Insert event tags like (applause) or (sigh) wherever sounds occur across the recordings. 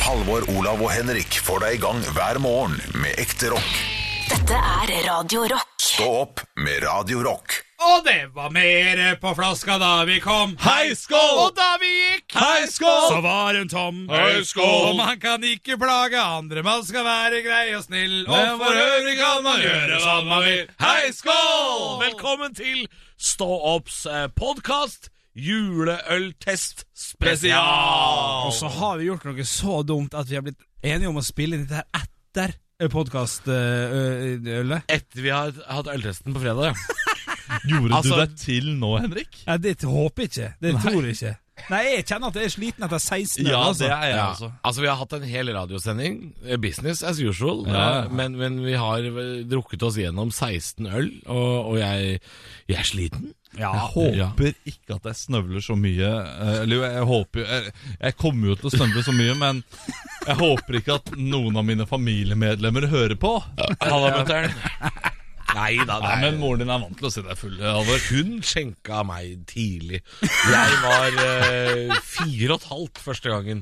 Halvor, Olav og Henrik får deg i gang hver morgen med ekte rock. Dette er Radio Rock. Stå opp med Radio Rock. Og det var mer på flaska da vi kom. Hei, skål! Og da vi gikk, Hei, skål! så var hun tom. Hei, skål! Og man kan ikke plage andre, man skal være grei og snill. Men for øvrig kan man gjøre hva man vil. Hei, skål! Velkommen til Stå opps podkast juleøltest Spesial! Og så har vi gjort noe så dumt at vi har blitt enige om å spille inn dette her etter eh, podkastølet. Etter vi har hatt øltesten på (laughs) fredag, ja. Gjorde Altså- du deg til nå, Henrik? Ja, det håper jeg ikke. Det tror jeg ikke. Nei, jeg kjenner at jeg er sliten etter 16 øl, altså. er jeg Altså, vi har hatt en hel radiosending. eh, Business as usual. Ja. eh, Men, men vi har eh, drukket oss gjennom 16 øl, og, og jeg, jeg er sliten. Jeg håper ikke at jeg snøvler så mye. eh, Eller jo, jeg håper jo jeg, jeg kommer jo til å snøvle så mye, men jeg håper ikke at noen av mine familiemedlemmer hører på. Halla, mutter'n. (laughs) Nei da, Nei, men moren din er vant til å se deg full, Halvor. Hun skjenka meg tidlig. Jeg var eh, fire og et halvt første gangen.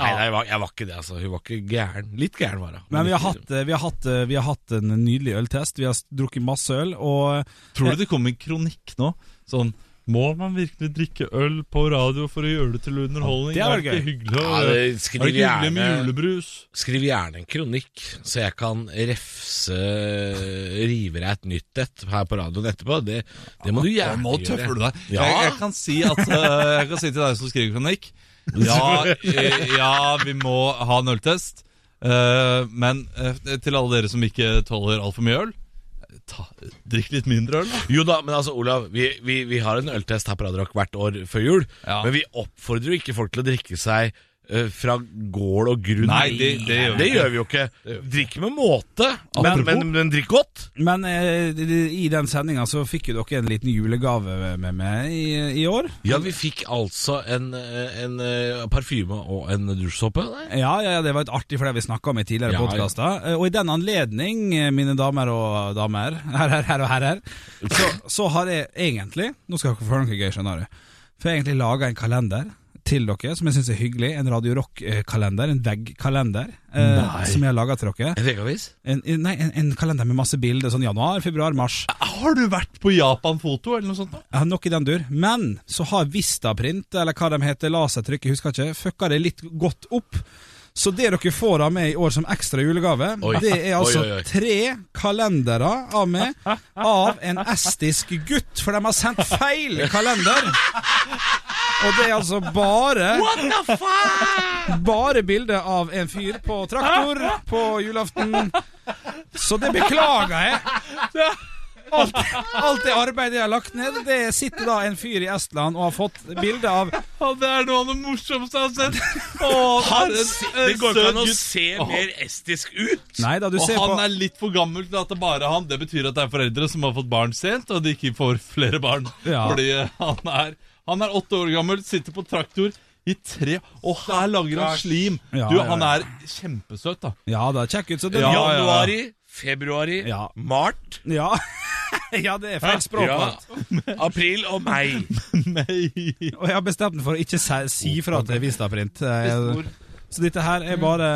Nei, nei jeg, var, jeg var ikke det, altså. Hun var ikke gæren. Litt gæren var hun. Men vi har, ikke- hatt, eh, vi, har hatt, vi har hatt en nydelig øltest. Vi har drukket masse øl, og Tror du det kommer en kronikk nå? Sånn må man virkelig drikke øl på radio for å gjøre det til underholdning? Det er vel ikke gøy. hyggelig å- Ja, det Er skriver det ikke hyggelig med gjerne- julebrus? Skriv gjerne en kronikk, så jeg kan refse Rive deg et nytt et her på radioen etterpå. Det, det må du gjerne Nå tøffer du gjøre. deg. Ja. Jeg, jeg, kan si at, eh, jeg kan si til deg som skriver kronikk Ja, eh, ja vi må ha en øltest. eh, men eh, til alle dere som ikke tåler altfor mye øl, ta, drikk litt mindre øl. da. Jo da, men altså, Olav, vi, vi, vi har en øltest her på Radio Rock hvert år før jul, Ja. men vi oppfordrer jo ikke folk til å drikke seg eh, fra gård og grunn. Nei, det- det gjør vi det ikke. gjør vi jo ikke. Drikk med måte, men, Apropos- men, men drikk godt. Men eh, d- d- i den sendinga så fikk jo dere en liten julegave med meg i, i år. Ja, vi fikk altså en, eh, en eh, parfyme og en dusjsåpe. nei? Ja, ja, ja, det var et artig for det vi snakka om i tidligere Ja, ja. podkaster. Og i den anledning, eh, mine damer og damer, (laughs) herrer herrer og herrer, så, så har jeg egentlig Nå skal dere få høre noe gøy, skjønner du. For jeg har egentlig laga en kalender til dere som jeg syns er hyggelig. En Radio Rock-kalender, en veggkalender, eh, som jeg har laga til dere. En veggavis? En, en- nei, en, en kalender med masse bilder, sånn januar, februar, mars. Har du vært på Japan Foto eller noe sånt? da? Ja, nok i den dur. Men så har Vistaprint, eller hva de heter, lasertrykk, jeg husker ikke, fucka det litt godt opp. Så det dere får av meg i år som ekstra julegave, Oi. det er altså Oi, oi, oi. tre kalendere av meg av en estisk gutt, for de har sendt feil kalender. Og det er altså bare Bare bilde av en fyr på traktor på julaften. Så det beklager jeg. Alt, alt det arbeidet jeg har lagt ned, det sitter da en fyr i Estland og har fått bilde av Ja, det er noe av det morsomste jeg har sett. Å, Han, det er en- se- en det går ikke søt an å gutt. se mer estisk ut. Nei da, du Og ser han på er litt for gammel til at det bare er han. Det betyr at det er foreldre som har fått barn sent, og de ikke får flere barn. Ja. Fordi eh, han er, han er åtte år gammel, sitter på traktor i tre Og her lager han slim! Ja, du, ja, han ja. er kjempesøt, da. Ja da, kjekk ut. Så det, Ja, ja, ja. Januari, februari, Ja. mart, ja. (laughs) ja, det er feil språk. ja, alt. april og mai. Nei. Og jeg har bestemt meg for å ikke si, si fra til Vistaprint. Eh, Så dette her er bare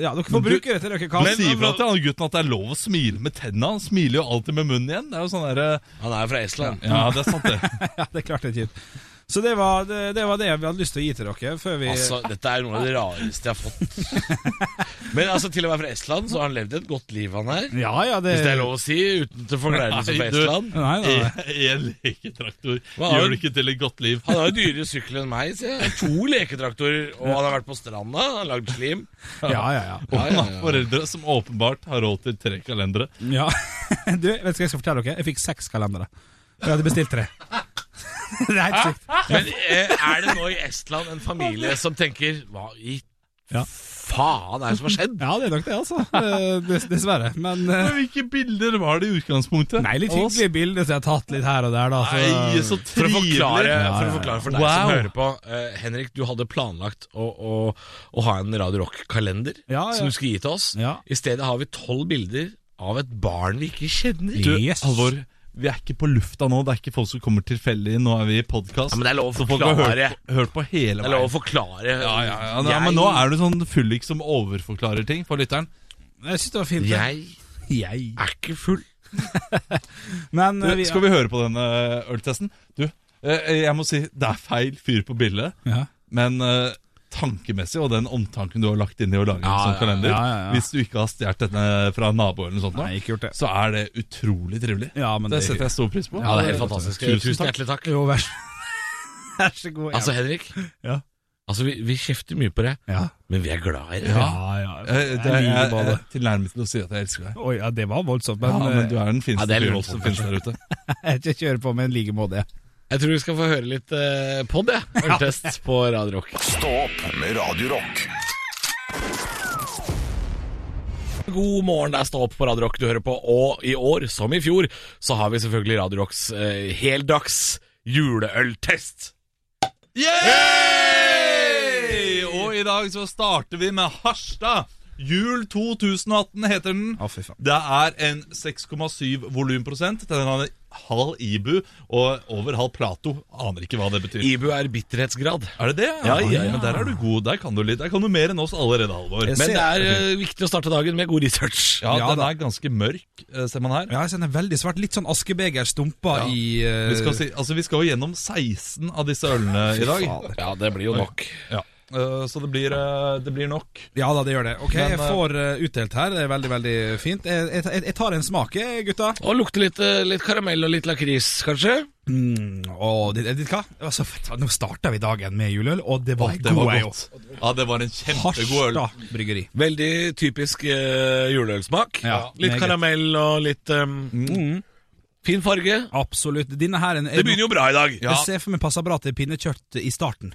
Ja, dere får Men du- bruke det til dere kan. Men si fra til han gutten at det er lov å smile med tenna. Han smiler jo alltid med munnen igjen. Det er jo sånn derre Han er fra Estland. Ja, det er sant, (laughs) det. (laughs) Ja, det er klart det er kjipt. Så det var det, det var det vi hadde lyst til å gi til dere før vi Eh. Altså, Dette er noe av det rareste jeg har fått. (laughs) Men altså, til å være fra Estland, så har han levd et godt liv, han her. Ja ja, det Hvis det er lov å si, uten til forkleinelse for Nei, du- Estland. Nei, nei, nei. Én E- leketraktor Hva har gjør du- det ikke til et godt liv. Han har jo dyrere sykkel enn meg, sier jeg. To leketraktorer, og han har vært på stranda, han har lagd slim. Ja ja ja. Og han har foreldre som åpenbart har råd til tre kalendere. (laughs) Ja, du, vet du hva jeg skal fortelle dere? Jeg fikk seks kalendere. Og jeg hadde bestilt tre. (laughs) Det er helt sykt. Men eh, er det nå i Estland en familie som tenker Hva i Ja. faen er det som har skjedd? Ja, det er nok det, altså. Eh, dess- Dessverre. Men eh, Men hvilke bilder var det i utgangspunktet? Nei, litt hyggelige bilder som jeg har tatt litt her og der, da. Nei, så For å, trivelig. forklare, ja, for ja. å forklare for deg Wow. som hører på eh, Henrik, du hadde planlagt å, å, å ha en Radio Rock-kalender Ja, ja. som du skulle gi til oss. Ja. I stedet har vi tolv bilder av et barn vi ikke kjenner. Du, Yes. Halvor, Vi er ikke på lufta nå, det er ikke folk som kommer tilfeldig. Nå er vi i podkast. Ja, men det er lov å så folk har hørt forklare. på, hørt på Det er hele veien. lov å forklare. Ja, ja, ja, ja, men nå er du sånn fyllik som overforklarer ting for lytteren. Jeg syns det var fint. det. Jeg Jeg. er ikke full. Men Du, eh, vi, skal vi høre på denne øltesten? Du, eh, jeg må si det er feil fyr på bildet, Ja. men eh, tankemessig og den omtanken du har lagt inn i å lage en Ja, sånn ja, kalender, ja, ja, ja. hvis du ikke har stjålet denne fra naboen eller noe sånt, nå, Nei, ikke gjort det. så er det utrolig trivelig. eh, Ja, men det, det- (laughs) setter jeg stor pris på. Ja, det er helt fantastisk. Tusen Tusen takk. hjertelig takk. Jo, vær så, vær så god. Altså, Henrik. Ja. Altså, vi, vi kjefter mye på det, ja. men vi er glad i det. Ja, ja. Eh, Jeg det er, liker jeg bare er det. tilnærmet til å si at jeg elsker deg. Oi, ja, det var voldsomt, Ja, men, men du eh, er den fineste Ja, det er fyren lurt. som finnes der ute. jeg skal kjøre på med en like måte. jeg. Jeg tror vi skal få høre litt eh, podd, (laughs) jeg. Øltest på Radio Rock. Stå opp med Radio Rock. God morgen, det er Stå opp på Radio Rock du hører på. Og i år, som i fjor, så har vi selvfølgelig Radio Rocks eh, heldags juleøltest. Yay! Og i dag så starter vi med Harstad. Jul 2018 heter den. Å, fy faen. Det er en 6,7 volumprosent. Den har en halv Ibu og over halv Plato. Aner ikke hva det betyr. Ibu er bitterhetsgrad. Er det det? Ja, ja, ja. Men der er du god. Der kan du litt. Der kan du mer enn oss allerede, Halvor. Jeg Men ser- det er eh, viktig å starte dagen med god research. Ja, Ja, den da. er ganske mørk, eh, ser man her. Ja, jeg sender veldig svart. Litt sånn askebegerstumper Ja. i eh, Vi skal, si, altså, vi skal jo gjennom 16 av disse ølene i dag. fader. Ja, det blir jo nok. Ja. Eh, Så det blir, eh, det blir nok. Ja da, det gjør det. Ok, Men, jeg eh, får eh, utdelt her. Det er veldig, veldig fint. Jeg, jeg, jeg- jeg tar en smak, jeg, gutta. Og lukter litt, eh, litt karamell og litt lakris, kanskje? Mm, å, det, det, hva? Altså, faen, nå starta vi dagen med juleøl, og det var Å, det god, var jeg godt. også. Ja, det var en kjempegod øl. Harstad bryggeri. Veldig typisk eh, juleølsmak. Ja, litt meget. karamell og litt eh, fin farge. Absolutt. Denne her er en, Det begynner jo bra i dag. Ja. Jeg ser for meg passer bra til pinnekjøtt i starten.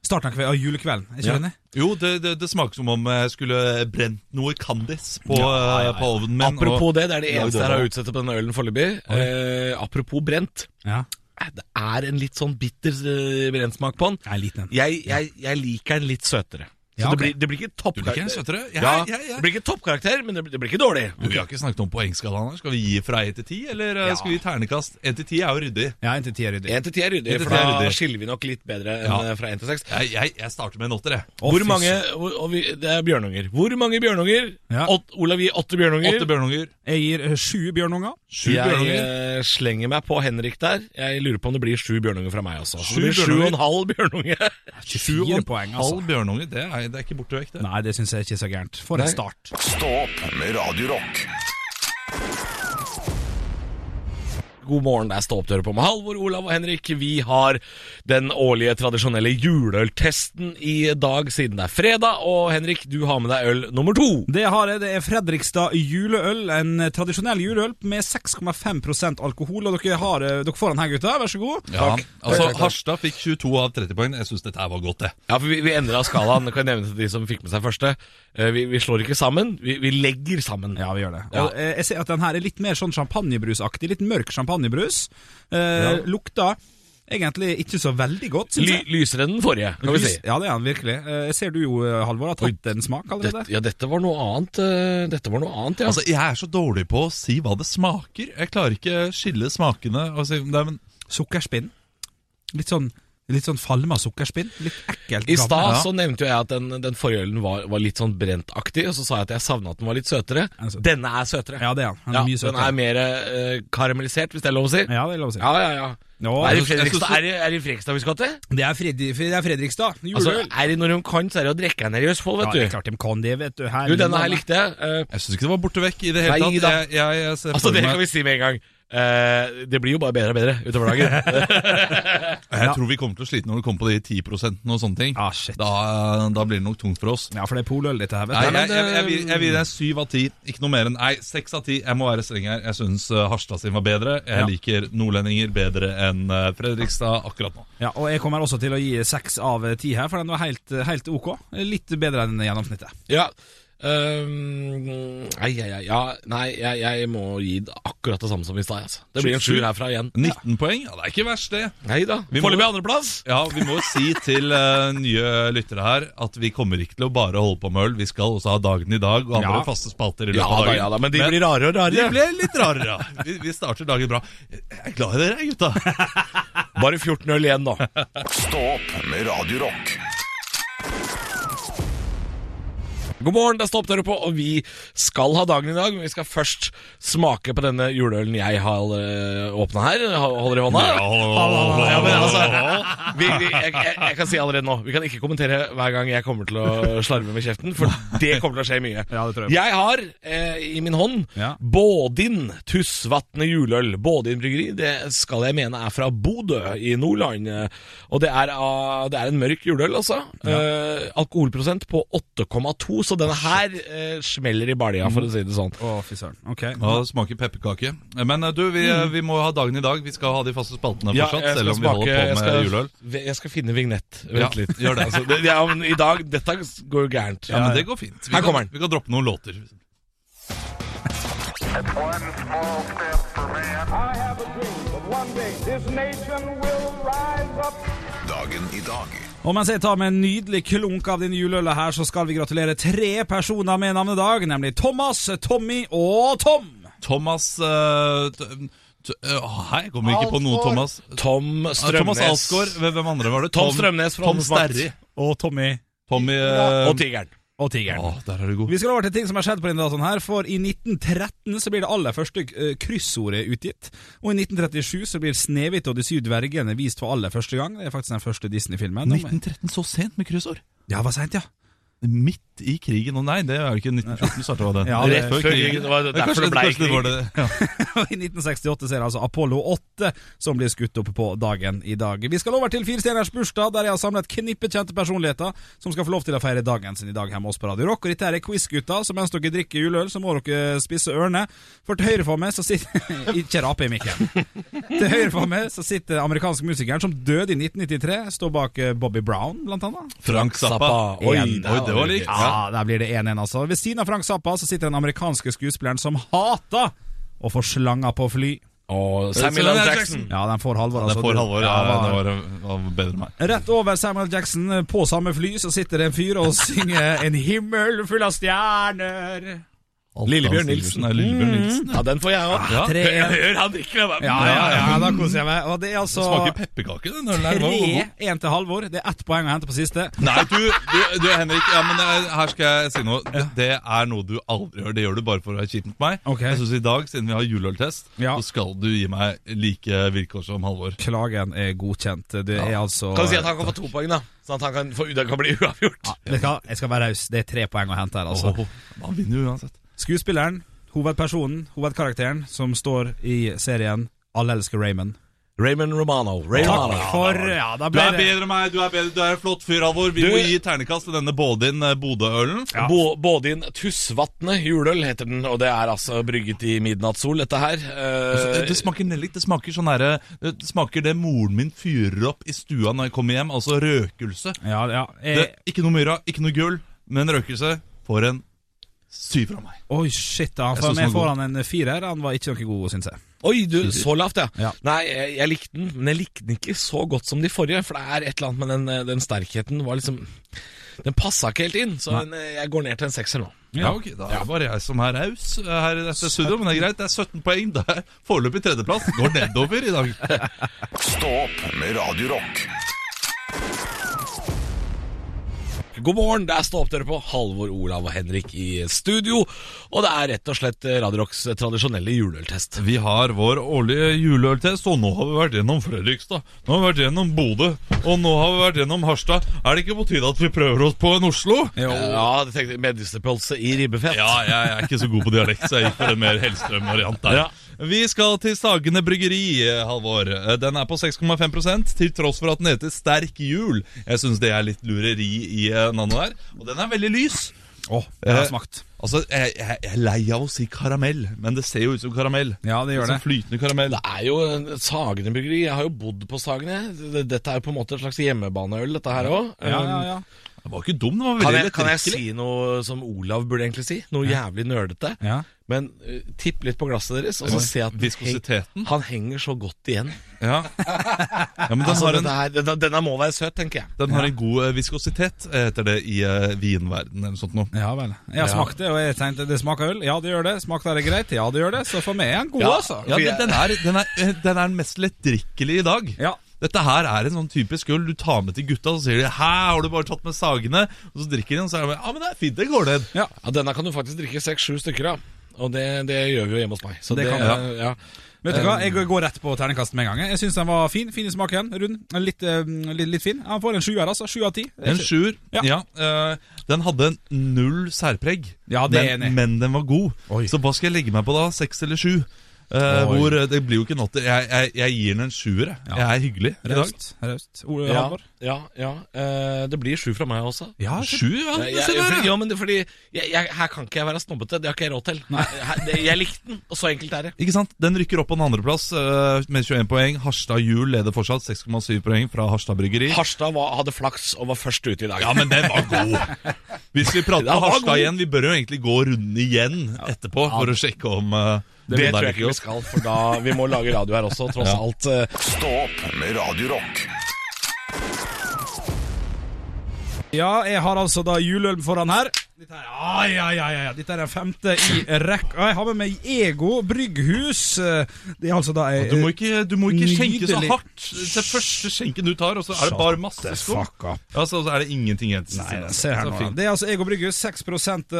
Starten av, kve- av julekvelden. Er ikke Ja. du enig? Jo, det, det, det smaker som om jeg skulle brent noe Candis på, eh, på ovnen min. Apropos og- det, det er det Ja, eneste det jeg har var- utsatt på denne ølen foreløpig. Eh, apropos brent. Ja. Eh, Det er en litt sånn bitter eh, brentsmak på den. Jeg er liten. Jeg, jeg, jeg liker den litt søtere. Så Ja, det, ok. blir, det blir ikke Du liker den toppkarakter. søtere? Ja, Ja, ja, ja. Det blir ikke toppkarakter, men det, blir- det blir ikke dårlig. Du, Vi har ikke snakket om poengskalaen her. Skal vi gi fra 1 til 10, eller eh, Ja. skal vi gi ternekast? 1 til 10 er jo ryddig. Ja, en til ti er ryddig. Én til ti er ryddig, En til for ti er da ryddig. skiller vi nok litt bedre enn Ja. eh, fra én til seks. Jeg, jeg, jeg starter med en åtter, jeg. Hvor mange hvor- og vi, Det er bjørnunger. Hvor mange bjørnunger? Ja. Åt, Olav gir åtte bjørnunger. Åtte bjørnunger. Jeg gir eh, sju bjørnunger. Sju jeg bjørnunger. eh, slenger meg på Henrik der. Jeg lurer på om det blir sju bjørnunger fra meg også. Så Sju det blir sju bjørnunger? og en halv bjørnunge. Sju og 24 en poeng, halv altså. bjørnunge. Det er, det er ikke borte vekk, det. Nei, det syns jeg ikke er så gærent. For en start. Stå opp med Radio Rock. God morgen, det er Stå opp til å høre på med Halvor, Olav og Henrik. Vi har den årlige tradisjonelle juleøltesten i dag, siden det er fredag. Og Henrik, du har med deg øl nummer to. Det har jeg. Det er Fredrikstad juleøl. En eh, tradisjonell juleøl med 6,5 alkohol. Og dere, har, eh, dere får den her, gutta. Vær så god. Ja, Takk. altså Takk, takk. Harstad fikk 22 av 30 poeng. Jeg syns dette her var godt, det. Ja, for Vi, vi endra skalaen. Kan jeg nevne til de som fikk med seg første. Eh, Vi, vi slår ikke sammen, vi, vi legger sammen. Ja, vi gjør det. Ja. Og eh, jeg ser at den her er litt mer sånn champagnebrusaktig. Litt mørk champagnebrus. Eh, Lukter egentlig ikke så veldig godt, syns Ly, jeg. lysere enn den forrige, kan vi si. Lys- Ja, det er han virkelig. Eh, Jeg ser du jo, eh, Halvor, har tatt en smak allerede. Dette, ja, dette var noe annet. eh, Dette var noe annet, ja. Altså, Jeg er så dårlig på å si hva det smaker. Jeg klarer ikke skille smakene. Og si, nei, men Sukkerspinn. Litt sånn, litt sånn falma sukkerspinn. Litt ekkelt. I stad gammel. så nevnte jo jeg at den, den forrige ølen var, var litt sånn brentaktig, og så sa jeg at jeg savna at den var litt søtere. Den er søt. Denne er søtere. Ja, det er han. Han er Ja, den mye er søtere. mer eh, karamellisert, hvis det er lov å si. Ja, det er lov å si. Ja, ja, ja. Nå, er, det jeg synes- Fredrikstad, er, det, er det Fredrikstad vi skal til? det, er Fred det er Fredrikstad. Altså, Juleøl. er det når de kan, så er det å drikke en i Østfold, ja, det er vet du. klart de kan det, vet du. Her, Du, denne her likte jeg. eh, jeg syns ikke det var borte vekk i det hele Nei, da. tatt. Jeg, jeg, jeg ser altså, for det meg- kan vi si med en gang. Eh, det blir jo bare bedre og bedre utover dagen. Eh, Jeg tror vi kommer til å slite når det kommer på de 10 og sånne ting. Ah, shit. Da, da blir det nok tungt for oss. Ja, for det er poløl, dette her. Nei, vet du. jeg, jeg, jeg, vil- jeg vil det er syv av ti. Ikke noe mer enn Nei, seks av ti. Jeg må være streng her. Jeg syns Harstad sin var bedre. Jeg Ja. liker nordlendinger bedre enn eh, Fredrikstad akkurat nå. Ja, og jeg kommer også til å gi seks av ti her, for den var helt, helt ok. Litt bedre enn gjennomsnittet. ja. Eh, Ehm, Nei, jeg, jeg, ja, nei jeg, jeg må gi det akkurat det samme som i stad. Altså. Det blir en sjuer herfra igjen. 19 poeng? Ja, det er ikke verst, det. Nei da. Vi må- Foreløpig andreplass. Ja, Vi må jo si til eh, nye lyttere her at vi kommer ikke til å bare holde på med øl. Vi skal også ha dagen i dag og andre Ja. faste spalter. i Ja løpet av da, dagen ja da, men de blir rarere og de rarere. blir litt rarere. ja. Vi, vi starter dagen bra. Jeg er glad i dere, gutta. Bare 14 øl igjen nå. Stå opp med Radio Rock. God morgen, det er Stopp dere på, og vi skal ha dagen i dag. Men vi skal først smake på denne juleølen jeg har øh, åpna her. ha- Holder i hånda. Ja, men altså, vi, vi, jeg, jeg, jeg kan si allerede nå Vi kan ikke kommentere hver gang jeg kommer til å slarve med kjeften, for det kommer til å skje mye. Ja, det tror jeg. Jeg har eh, i min hånd Ja. Bådin Tussvatne juleøl. Bådin bryggeri, det skal jeg mene er fra Bodø i Nordland. eh, Og det er, ah, det er en mørk juleøl, altså. Eh, alkoholprosent på 8,2, så denne her eh, smeller i balja, for å si det sånn. Å, fy søren. Ok. Ja, det smaker pepperkake. Men eh, du, vi, eh, vi må ha dagen i dag. Vi skal ha de faste spaltene Ja, jeg fortsatt, skal selv om vi smake- holder på jeg med skal- juleøl. Jeg skal finne vignett. Vent Ja, litt. gjør det, altså. Det- ja, men I dag Dette går jo gærent. Ja, men det går fint. Vi Her kan- kommer den. Vi kan droppe noen låter. One small step for man. I have a dream that one day this nation will rise up. Dagen i dag. Og mens jeg tar med en nydelig klunk av denne juleøla her, så skal vi gratulere tre personer med navnedag, nemlig Thomas, Tommy og Tom. Thomas eh, t- t- eh, Hei, jeg kommer ikke på noe, Thomas. Tom Ah, Strømnes. Thomas Alsgaard. Hvem hvem andre var det? Tom Strømnes fra Tom Åndens Makt. Sterri. Og Tommy. Tommy eh, Og Tigeren. Og Tigeren. Å, der er du god. Vi skal over til ting som har skjedd på denne datoen her, for i 1913 så blir det aller første eh, kryssordet utgitt, og i 1937 så blir Snehvit og de syv dvergene vist for aller første gang. Det er faktisk den første Disney-filmen. 1913, så sent med kryssord. Ja, det var sent, ja. Midt i krigen. Og nei, det er jo ikke 1914 starta, var det? Ja, det- før krigen, det var Ja, derfor kanskje det ble kanskje var det- (laughs) ja. Og (laughs) I 1968 så er det altså Apollo 8 som blir skutt opp på dagen i dag. Vi skal over til firestjerners bursdag, der jeg har samlet knippe kjente personligheter som skal få lov til å feire dagen sin i dag hjemme hos oss på Radio Rock. Og dette her er quiz-gutta, så mens dere drikker juleøl, så må dere spisse ørene. For til høyre for meg så sitter (laughs) Ikke rape i mikken. Til høyre for meg så sitter amerikansk musikeren som døde i 1993, står bak eh, Bobby Brown, blant annet. Frank Zappa. Zappa. Oi, Oi, det var likt. Ja. Ja, der blir det 1-1, altså. Ved siden av Frank Zappa så sitter den amerikanske skuespilleren som hater å få slanger på fly. Og Samuel L. Jackson. Ja, den får Halvor. Det altså. er for Du- halvår. Ja, Ja, det hva- var, var bedre enn meg. Rett over Samuel Jackson, eh, på samme fly, så sitter det en fyr og (laughs) synger 'En himmel full av stjerner'. Lillebjørn Hans Nilsen. Mm. Nei, Lillebjørn Nilsen. Ja, den får jeg òg. Ja. Tre- Hør, hør han drikker meg. Ja, ja, ja, da koser jeg meg. Og det er Det altså Smaker pepperkake, den ølen her. Den var god. 3-1 til Halvor. Det er ett poeng å hente på siste. Nei, du, du, du Henrik, ja, men eh, her skal jeg si noe. Det, det er noe du aldri gjør. Det gjør du bare for å være kjip mot meg. Ok. Jeg synes I dag, siden vi har juleøltest, Ja. så skal du gi meg like vilkår som Halvor. Klagen er godkjent. Det er altså Kan du si at han kan få to poeng, da? Sånn at han kan, få, det kan bli uavgjort. Vet du hva, jeg skal være raus. Det er tre poeng å hente her, altså. Åh, han vinner jo uansett. Skuespilleren, hovedpersonen, hovedkarakteren, som står i serien 'Alle elsker Raymond'. Raymond Romano. Ray Takk Romano. for Ja, da Du ble er det bedre enn meg, du er bedre, du er en flott fyr, Halvor. Vi Du- må gi ternekast til denne Bådin eh, Bodø-ølen. Ja. Bo, Bådin Tussvatne juleøl heter den, og det er altså brygget i midnattssol, dette her. Eh, Det smaker nellik. Det smaker sånn herre Det smaker det moren min fyrer opp i stua når jeg kommer hjem, altså røkelse. Ja, ja. Det, Jeg, ikke noe myra, ikke noe gull, men røkelse får en syv fra meg. Oi, shit, da. Jeg For synes jeg den var får han en firer. Han var ikke noe god, syns jeg. Oi, du, så lavt, ja. Ja. Nei, jeg, jeg likte den, men jeg likte den ikke så godt som de forrige. For det er et eller annet med den, eh, den sterkheten var liksom Den passa ikke helt inn, så den, eh, jeg går ned til en sekser nå. Ja, ok, Da er det bare jeg som er raus eh, her i dette studio, men det er greit. Det er 17 poeng. Det er foreløpig tredjeplass. Går nedover i dag. Stå opp med Radio Rock. God morgen, der står opp dere på Halvor, Olav og Henrik i studio. Og det er rett og slett eh, Radio Rocks tradisjonelle juleøltest. Vi har vår årlige juleøltest, og nå har vi vært gjennom Fredrikstad. Nå har vi vært gjennom Bodø, og nå har vi vært gjennom Harstad. Er det ikke på tide at vi prøver oss på en Oslo? Ja, det tenkte jeg, Medisterpølse i ribbefett. Ja, jeg er ikke så god på dialekt, så jeg gikk for en mer Hellstrøm-variant der. Ja. Vi skal til Sagene bryggeri, eh, Halvor. Eh, Den er på 6,5 til tross for at den heter Sterk jul. Jeg syns det er litt lureri i eh, navnet der. Og den er veldig lys. Åh, det har Eh, smakt. Altså, jeg, jeg, jeg er lei av å si karamell, men det ser jo ut som karamell. Ja, det gjør Som det. flytende karamell. Det er jo en- Sagene bryggeri. Jeg har jo bodd på Sagene. Dette er jo på en måte et slags hjemmebaneøl, dette her Um, òg. Ja, ja, ja. Det var ikke dum, det var Kan veldig jeg, kan jeg lettdrikkelig. si noe som Olav burde egentlig si? Noe jævlig nerdete. Ja. Men eh, tipp litt på glasset deres, og så se at den Viskositeten. han henger så godt igjen. Ja. ja, men den Altså, har en denne, her, denne, denne må være søt, tenker jeg. Den har en god eh, viskositet, eh, heter det i eh, vinverden eller sånt noe. Ja vel. Jeg har smakt det, og jeg tenkte det smaker øl. Ja, det gjør det. Smakte det greit? Ja, det gjør det. Så for meg er den god, Ja. altså. Ja, men den er, den, er, eh, den er den mest lettdrikkelige i dag. Ja. Dette her er en sånn typisk øl du tar med til gutta, så sier de 'hæ, har du bare tatt med sagene?' Og så drikker de, og så er de ja, men det er fint, det går ned. Ja, denne kan du faktisk drikke seks-sju stykker av. Og det, det gjør vi jo hjemme hos meg. Så Det det, kan eh, ja. Vet du hva, jeg går rett på terningkast med en gang. jeg. Jeg syns den var fin. Fin i smaken. Rund. Litt, eh, litt, litt fin. Han får en sjuer, altså. Sju av ti. En sjuer. Ja. Ja. eh, den hadde null særpreg, Ja, det er jeg enig i. men, men den var god. Oi. Så hva skal jeg legge meg på da? Seks eller sju? Eh, Oi. hvor eh, Det blir jo ikke notter. Jeg, jeg, jeg gir den en sjuer. jeg. Jeg er hyggelig i dag. Raust. Raust. Ole Ja, Halvor? ja, ja. Eh, det blir sju fra meg også. Eh, Ja, Sju, ja. Jeg, jeg, se der, ja. ja, men det er fordi jeg, jeg, Her kan ikke jeg være snobbete. Det har ikke jeg råd til. Her, det, jeg likte den, og så enkelt er det. Ikke sant? Den rykker opp på en andreplass eh, med 21 poeng. Harstad Hjul leder fortsatt 6,7 poeng fra Harstad Bryggeri. Harstad var, hadde flaks og var først ute i dag. Ja, men den var god! Hvis vi prater Den om var Harstad god. igjen, vi bør jo egentlig gå runden igjen etterpå for å sjekke om eh, det om tror er jeg ikke like vi skal, for da Vi må lage radio her også, tross alt. eh. Stå opp med Radio Rock. Ja, jeg har altså da juleøl foran her. Dette er, ah, ja, ja, ja, ja. Dette er den femte i rekka. Jeg har med meg Ego brygghus. Eh, Det er altså da ei godt. Du må ikke, du må ikke skjenke så Nydelig. hardt. Det første skjenken du tar, og så er det bare masse skum. Fuck up. Ja, så, så er det ingenting igjen. til Nei, siste. se her Så nå. fint. Det er altså Ego Brygghus, 6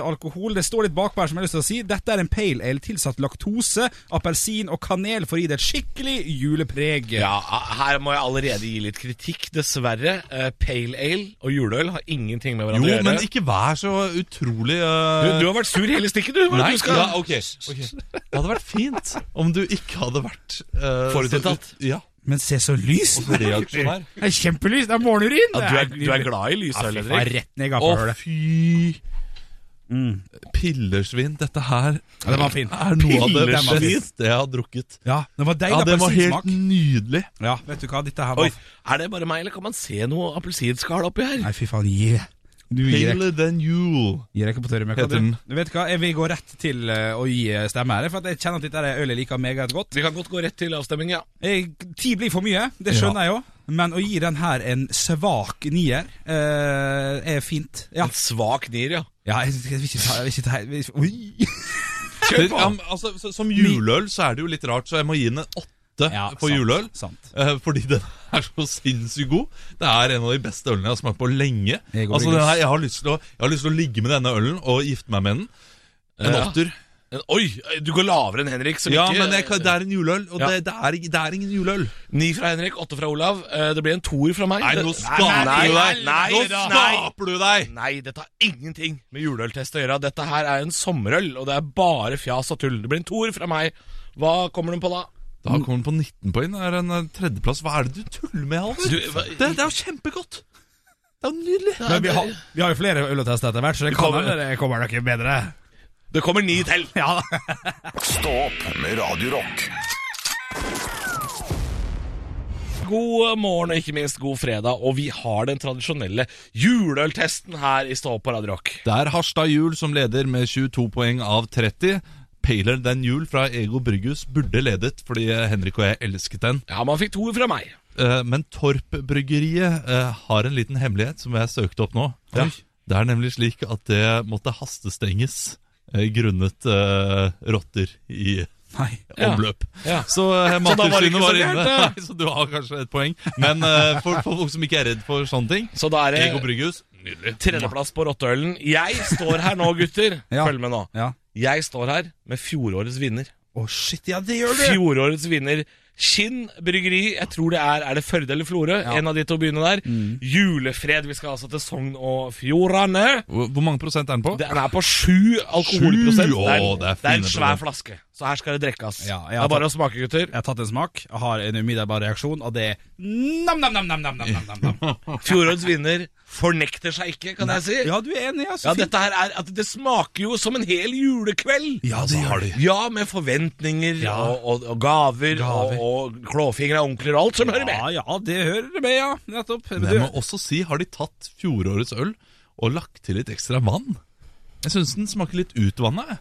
alkohol. Det står litt bakpå her, som jeg har lyst til å si. Dette er en pale ale tilsatt laktose, appelsin og kanel for å gi det et skikkelig julepreg. Ja, her må jeg allerede gi litt kritikk, dessverre. Eh, pale ale og juleøl har ingenting med Jo, hverandre å gjøre. men ikke vær så utrolig du, eh, du har vært sur hele stikket, du. Hva er det Nei, du skal... ja, ok, ok. Det hadde vært fint om du ikke hadde vært eh, Forutinntatt. så ut- Ja, Men se så lyst! så reaksjonær. Det er kjempelyst! Det er morgenurin! Ja, du, er, du er glad i lysøl, Ja, fy faen, Henrik. rett ned i Å, gapahullet. fy Pillersvin, dette her Mm. Ja, den var fin. er noe av det Pillersvin? beste jeg har drukket. Ja, den var deilig Ja, det var helt appelsinsmak. nydelig. Ja, vet du hva, dette her Oi, var er det bare meg, eller kan man se noe appelsinskall oppi her? Nei, fy faen, gi det. Du gir det. Paler than you. Gir det ikke på tørre møkka, Heter den. Du vet hva, jeg vil gå rett til eh, å gi eh, stemme her, for at jeg kjenner at dette er øl jeg liker meget godt. Vi kan godt gå rett til avstemming, ja. Jeg, ti blir for mye, det skjønner jeg jo, men å gi den her en svak nier eh, er fint. Ja, En svak nier, ja. ja jeg, jeg vil ikke ta, jeg vil ikke ta jeg vil ikke- Oi. Det, ja, men altså, så- som juleøl så er det jo litt rart, så jeg må gi den en åtte (laughs) Ja, på sant, juleøl. sant. eh, fordi den (laughs) er så sinnssykt god. Det er en av de beste ølene jeg har smakt på lenge. Jeg går Altså, i den her, lys. jeg, har lyst til å, jeg har lyst til å ligge med denne ølen og gifte meg med den. En Ja. åtter. Eh, En- Oi, du går lavere enn Henrik, som Ja, ikke men jeg, kan- det er en juleøl, og Ja. det, det, er, det er ingen juleøl. Ni fra Henrik, åtte fra Olav. Eh, Det blir en toer fra meg. Nei, nå Det- skaper nei, du nei, deg! nei, nå da. skaper du deg! Nei, dette har ingenting med juleøltest å gjøre. Dette her er en sommerøl, og det er bare fjas og tull. Det blir en toer fra meg. Hva kommer den på da? Da kommer den på 19 poeng. Det er en eh, tredjeplass. Hva er det du tuller med, Halvor? Du, Det, hva- det er jo kjempegodt! Det er jo nydelig. Men vi har, vi har jo flere øl å teste etter hvert, så det kan kommer- hende det kommer noe bedre. Det kommer ni (laughs) til. Ja, Stå opp med Radio Rock. God morgen, og ikke minst god fredag. Og vi har den tradisjonelle juleøltesten her i Stå opp på Radio Rock. Det er Harstad Jul som leder med 22 poeng av 30. Paler than jul fra Ego Brygghus burde ledet, fordi eh, Henrik og jeg elsket den. Ja, man fikk toer fra meg. Eh, Men Torp-bryggeriet eh, har en liten hemmelighet som jeg søkte opp nå. Ja. Det er nemlig slik at det måtte hastestenges eh, grunnet eh, rotter i nei. Ja. omløp. Ja. Så eh, Så da var det Mattilsynet ikke var, så inne. gærent, Nei, så du har kanskje et poeng. Men eh, for, for folk som ikke er redd for sånne ting Så da er det Ego Brygghus, nydelig. Tredjeplass på rotteølen. Jeg står her nå, gutter. (laughs) Ja. Følg med nå. Ja. Jeg står her med fjorårets vinner. Å, shit, ja, det gjør du! Fjorårets vinner Kinn bryggeri. Jeg tror det er Er det Førde eller Florø? En av de to byene der. Julefred. Vi skal altså til Sogn og Fjordane. Hvor hvor mange prosent er den på? Den er på sju alkoholprosent. Sju? Å, det, er, det er det er en fine svær prosent. flaske, så her skal det drikkes. Ja, det jeg har er bare å smake, gutter. Jeg har tatt en smak, jeg har en umiddelbar reaksjon, og det er (laughs) nam-nam-nam-nam-nam-nam. Fjorårets vinner fornekter seg ikke, kan jeg si. Ja, Ja, du er enig, altså. ja. Så fint. dette her er at Det smaker jo som en hel julekveld. Ja, Altså, det gjør det. Ja, med forventninger og, og, og gaver, Gaver. Og, og klåfingre og onkler og alt som hører med. Ja, ja, det hører det med, ja. Nettopp. Men jeg Du, må også si, har de tatt fjorårets øl og lagt til litt ekstra vann. Jeg syns den smaker litt utvanna. jeg.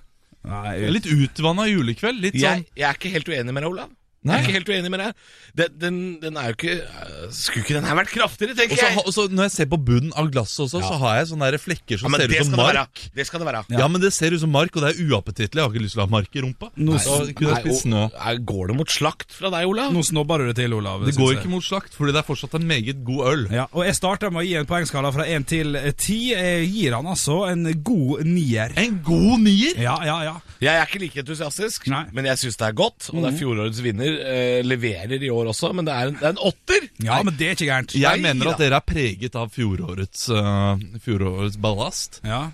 Nei, Litt utvanna julekveld. Litt sånn Jeg, jeg er ikke helt uenig med deg, Olav. Jeg er ikke helt uenig med deg. Den, den, den er jo ikke øh, Skulle ikke den her vært kraftigere, og tenker så, jeg? ha- og så Når jeg ser på bunnen av glasset også, så har jeg sånne der flekker ja, som men ser det ut som skal det være. mark. Det skal det være. Ja. men det ser ut som mark, og det er uappetittlig. Jeg har ikke lyst til å ha mark i rumpa. Nå Nei, da kunne jeg Nei, spist snø. og- nei, går det mot slakt fra deg, Olav? Nå snobber du det til, Olav. Det går ikke mot slakt, fordi det er fortsatt en meget god øl. Ja, og Jeg starter med å gi en poengskala fra 1 til 10. Jeg gir han altså en god nier. En god nier! Ja, ja, ja. Jeg er ikke like entusiastisk, Nei. men jeg syns det er godt. Og det er Mhm. fjorårets vinner. eh, leverer i år også, men det er en, det er en åtter! Ja, men det er ikke gærent. Jeg Nei, mener da. at dere er preget av fjorårets, øh, fjorårets ballast. Eh, Ja.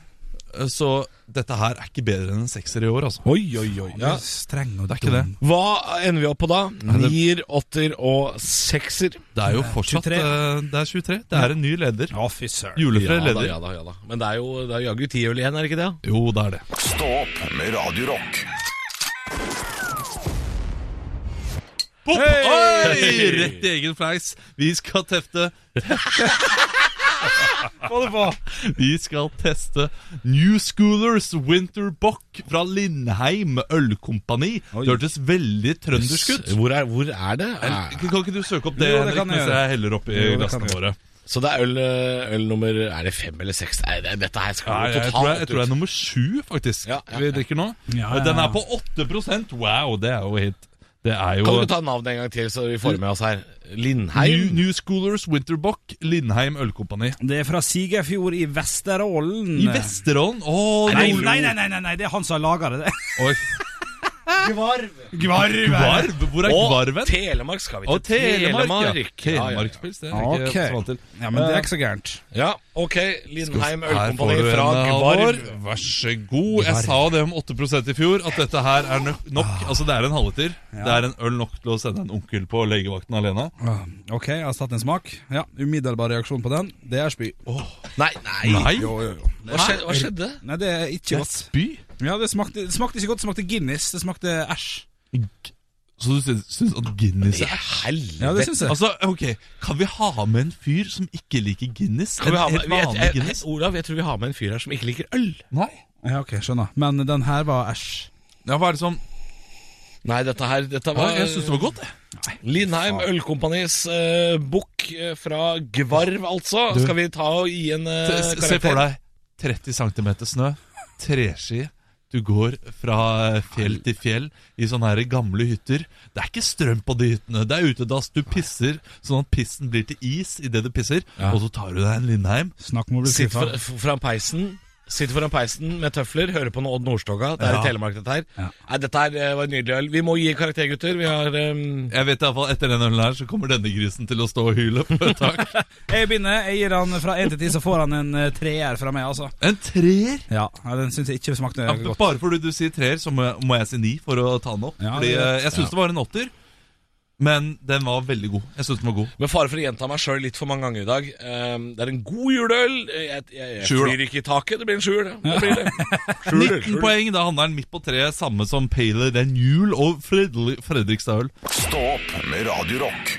Så dette her er ikke bedre enn en sekser i år, altså. Oi, oi, oi. Du er streng og Det er ikke det. dum. Hva ender vi opp på da? det- Nier, åtter og sekser. Det er jo fortsatt 23. øh, Det er 23. Det er en ny leder. Å, fy søren. Julefred ja, da, leder. ja da, ja da. Men det er jo det er jaggu ti øl igjen, er det ikke det? Jo, det er det. Stå opp med Radio Rock. Oi! Rett i egen fleis. Vi skal tefte Hold på. Vi skal teste New Schoolers Winter Bock fra Lindheim Ølkompani. Oi. Det hørtes veldig trøndersk ut. Hvor er, hvor er det? Er, Kan ikke du søke opp det, Ah. Jo, det Henrik, kan jeg mens gjøre. jeg heller oppi Jo, det kan glassene jeg våre? så det er øl, eh, øl nummer Er det fem eller seks? Nei, det, dette her Ja, skal jo jeg, jeg, tror jeg, jeg totalt tror det er nummer sju, faktisk, Ja, ja, vi ja. drikker nå. Ja, ja, Den ja. er på 8 Wow, det er jo helt Det er jo Kan du ikke ta navnet en gang til, så vi får med oss her? New, Lindheim? New Schoolers Winterbock Lindheim Ølkompani. Det er fra Sigerfjord i Vesterålen. I Vesterålen Å, Nei, Nord- nei, nei, nei, nei, nei, det er han som har laga det. Oi, Gvarv! Gvarv? Hvor er Og Gvarven? Telemark skal vi til. Og Ja, ja, Telemark. ja. ja. Telemarkspils, (laughs) det er jeg ikke vant til. Eh. Ja, men det er ikke så gærent. Ja, ok. Lindheim Her får Ølkompani du en eh, fra halvår. Gvarv. Vær så god. Jeg sa jo det om 8 i fjor, at dette her er nok. nok. Altså, det er en halvliter. Det er en øl nok til å sende en onkel på legevakten alene. Ah, Ok, jeg har tatt en smak. Ja, Umiddelbar reaksjon på den. Det er spy. Nei, nei. Nei! Jo, jo, jo. Hva skjedde? Hva skjedde? Nei, det er ikke godt. Spy? Ja, det smakte, det smakte ikke godt. Det smakte Guinness. Det smakte æsj. Så du syns- syns at Guinness I er helvete. Ja, det syns jeg. Altså, ok, Kan vi ha med en fyr som ikke liker Guinness? Kan vi ha En med, helt vi- vanlig jeg- jeg- Guinness? Olav, jeg tror vi har med en fyr her som ikke liker øl. Nei. Ja, ok, skjønner. Men den her var æsj. Ja, hva er det som Nei, dette her dette ja, var, Jeg syns det var godt, jeg. Lindheim Ølkompanis uh, bukk eh, fra Gvarv, altså. Du- Skal vi ta og gi en eh, Se- se- karakter? Se for deg 30 cm snø, treski. Du går fra fjell til fjell i sånne her gamle hytter. Det er ikke strøm på de hyttene. Det er utedass. Du pisser sånn at pissen blir til is idet du pisser. Og så tar du deg en Lindheim. Snakk om å bli Sitt skuffa. for, f- foran peisen Sitter foran peisen med tøfler, hører på noe Odd Nordstoga. Det er Ja. i Telemark, dette her. Ja. Nei, dette her eh, var en nydelig øl. Vi må gi karakter, gutter. Vi har ehm, Jeg vet i hvert fall Etter den ølen her så kommer denne grisen til å stå og hyle. på et (laughs) tak. Jeg begynner. Jeg gir han fra 1 til 10, så får han en eh, treer fra meg, altså. En treer! Ja, ja, den syns jeg ikke smakte Ja, men godt. bare fordi du sier treer, så må jeg, må jeg si ni for å ta den opp. Ja, fordi det er eh, Jeg syns det var en åtter, men den var veldig god. Jeg synes den var god Med fare for å gjenta meg sjøl litt for mange ganger i dag. ehm, det er en god juleøl. Jeg, jeg, jeg Sjuer, da. flyr ikke i taket. Det blir en sjuer, det. det, blir (laughs) det. Sjuer, 19 sjuer. poeng, da handler den midt på treet, samme som Paler den Jul og Fredri Fredrikstad-øl. Stå opp med Radio Rock.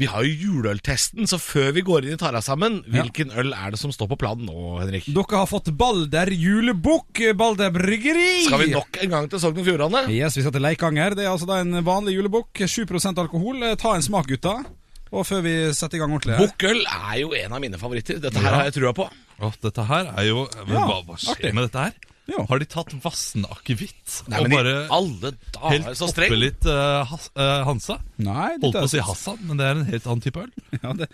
Vi har jo juleøltesten, så før vi går inn i tara sammen, hvilken øl er det som står på planen nå, Henrik? Dere har fått Balder julebukk, Balder bryggeri. Skal vi nok en gang til Sogn og Fjordane? Yes, vi skal til Leikanger. Det er altså da en vanlig julebukk. 7 alkohol. Eh, Ta en smak, gutta. Og før vi setter i gang ordentlig her Bukkøl er jo en av mine favoritter. Dette her har jeg trua på. Åh, dette her er jo men, Ja, Hva, hva skjer artig. med dette her? Ja. Har de tatt Vassen-akevitt Nei, og men i bare alle dager, helt så oppe streng. litt eh, has, eh, Hansa? Nei, Holdt de på der å si syns- Hassan, men det er en helt annen type øl. (laughs) Ja, det,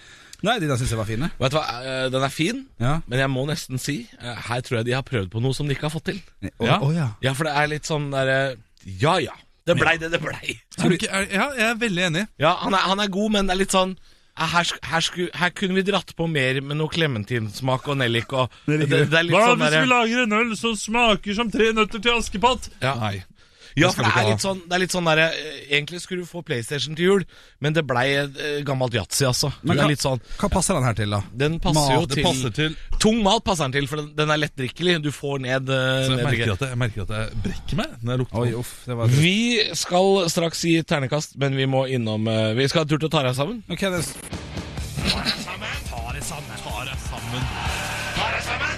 nei, de der syns jeg var fine. Vet du hva, eh, Den er fin, Ja. men jeg må nesten si eh, her tror jeg de har prøvd på noe som de ikke har fått til. Ja. Å, å, ja. Ja, for det er litt sånn derre Ja ja, det blei det det blei. Er du ikke, er, ja, jeg er veldig enig. Ja, han er, han er god, men det er litt sånn eh, her, sk- her, sku, her kunne vi dratt på mer med noe clementinsmak og nellik og det, det er litt sånn derre- lager en øl som smaker som tre nøtter til Askepott? Ja. Nei. Ja, Det skal for det vi ikke er ha. litt sånn, det er litt sånn derre eh, Egentlig skulle du få PlayStation til jul, men det blei eh, gammelt yatzy, altså. Du Men hva- er litt sånn Hva passer den her til, da? Den passer Mat, jo det til, passer til- Tung mat passer den til, for den, den er lettdrikkelig. Du får ned, eh, Så jeg ned merker, drikke. at jeg, jeg merker at jeg brekker meg når jeg lukter på Oi, den. uff, det var Vi skal straks gi ternekast, men vi må innom eh, Vi skal ha tur til å ta deg sammen. Ok, det Ta deg sammen.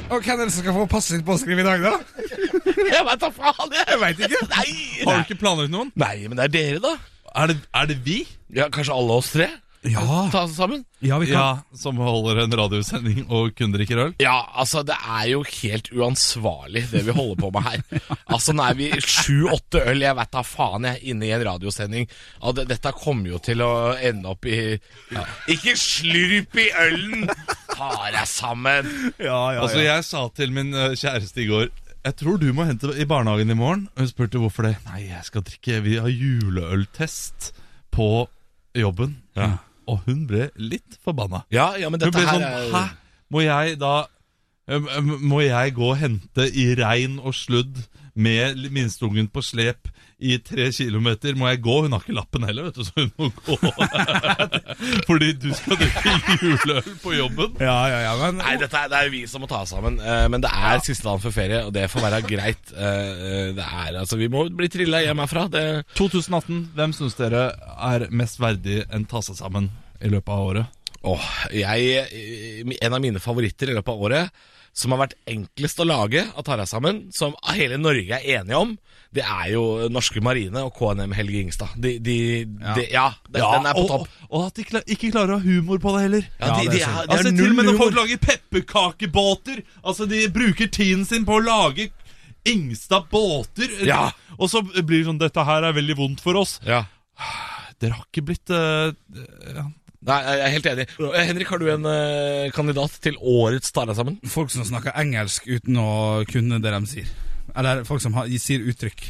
Og hvem er det som skal få passet sitt påskrevet i dag, da? Jeg veit da faen, jeg! Veit ikke. (laughs) Nei, Har nei. du ikke planlagt noen? nei, men det er dere, da. Er det, er det vi? Ja, Kanskje alle oss tre? Ja, Ta oss sammen? ja vi kan. Ja, som holder en radiosending og kun drikker øl? Ja, altså det er jo helt uansvarlig det vi holder på med her. Altså nå er vi sju-åtte øl, jeg vet da faen jeg, inne i en radiosending. Ja, det, dette kommer jo til å ende opp i Ikke slurp i ølen! Ta deg sammen! Altså, jeg sa til min eh, kjæreste i går Jeg tror du må hente i barnehagen i morgen. Og hun spurte hvorfor det. Nei, jeg skal drikke Vi har juleøltest på jobben. Og hun ble litt forbanna. Ja, ja, men Hun dette ble sånn her er Hæ? Må jeg da øhm, øhm, Må jeg gå og hente i regn og sludd med l- minsteungen på slep i tre kilometer? Må jeg gå? Hun har ikke lappen heller, vet du, så hun må gå. (laughs) Fordi du skal drikke juleøl på jobben. Ja, ja, ja, men Nei, dette er, det er jo vi som må ta oss sammen. eh, men det er siste dagen før ferie, og det får være greit. Eh, eh, det er, altså, Vi må bli trilla hjem herfra. Det, 2018, hvem syns dere er mest verdig en ta seg sammen i løpet av året? Åh, jeg, eh, en av mine favoritter i løpet av året, som har vært enklest å lage av Tara sammen, som hele Norge er enige om, det er jo Norske Marine og KNM Helge Ingstad. De, de, ja. De, ja, den, den er på og, topp. og at de kla- ikke klarer å ha humor på det heller. Ja, de, det er de, sant. er, de Altså, er til og null med når folk humor. lager pepperkakebåter. Altså, de bruker tiden sin på å lage Ingstad-båter. Ja. Og så blir det sånn Dette her er veldig vondt for oss. Ja. Dere har ikke blitt eh, ja. Nei, jeg er helt enig. Eh, Henrik, har du en eh, kandidat til årets Tara sammen? folk som snakker engelsk uten å kunne det de sier. Eller folk som har, sier uttrykk.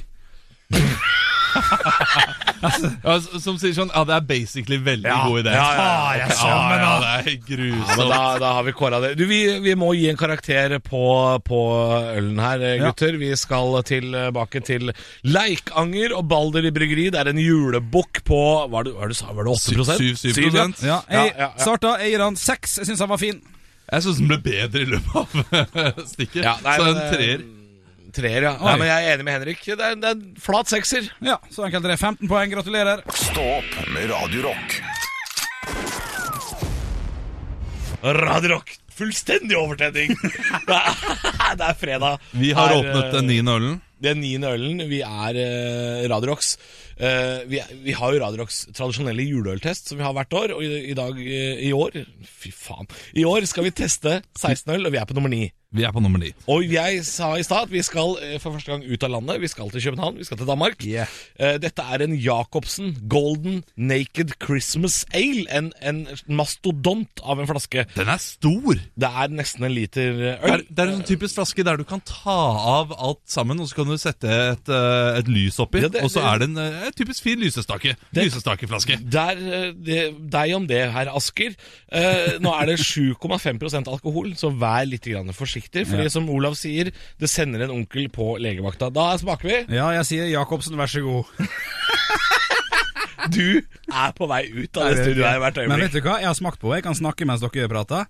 Ja, s- Som sier sånn Ja, det er basically veldig Ja. god idé. Ja, ja, ja. Ja, ja, det er grusomt. Men da, da har vi kåra det. Du, vi, vi må gi en karakter på, på ølen her, eh, Ja. gutter. Vi skal tilbake til Leikanger og Balder i bryggeri. Det er en julebukk på Hva er det, hva er det, du sa? var det 8 Syv- syv Syv, ja. prosent. Ja, jeg Ja, ja, ja. starta, jeg gir han seks. Jeg syns han var fin. Jeg syns den ble bedre i løpet av (laughs) stikket. Ja, nei, så men, en eh, treer. Treer, ja. Nei, Oi. men jeg er enig med Henrik. Det er, det er en flat sekser. Ja, Så enkelt er det. 15 poeng, gratulerer. Stå opp med Radio Rock. Radio Rock. Fullstendig (laughs) overtenning! (laughs) det er det er fredag. Vi har Her, åpnet eh, den niende ølen. Den niende ølen, vi er eh, Radio Rocks. Eh, vi, er- vi har jo Radio Rocks tradisjonelle juleøltest, som vi har hvert år. Og i, i dag, eh, i år Fy faen. I år skal vi teste 16 øl, og vi er på nummer 9. Vi er på nummer ni. Og jeg sa i stad at vi skal eh, for første gang ut av landet. Vi skal til København, vi skal til Danmark. Eh, dette er en Jacobsen Golden Naked Christmas Ale. En, en mastodont av en flaske. Den er stor! Det er nesten en liter eh, Det er, øl. det er en sånn typisk flaske der du kan ta av alt sammen, og så kan du sette et, eh, et lys oppi, Ja, det- og så er det en eh, typisk fin lysestake. Lysestakeflaske. Der, eh, det, deg om det, herr Asker. Eh, nå er det 7,5 alkohol, så vær litt grann forsiktig. Fordi som Olav sier, det sender en onkel på legevakta. Da smaker vi. Ja, jeg sier Jacobsen, vær så god. Du er på vei ut av det studioet her hvert Men øyeblikk. Mm. vet du hva? Jeg har smakt på, jeg kan snakke mens dere prater.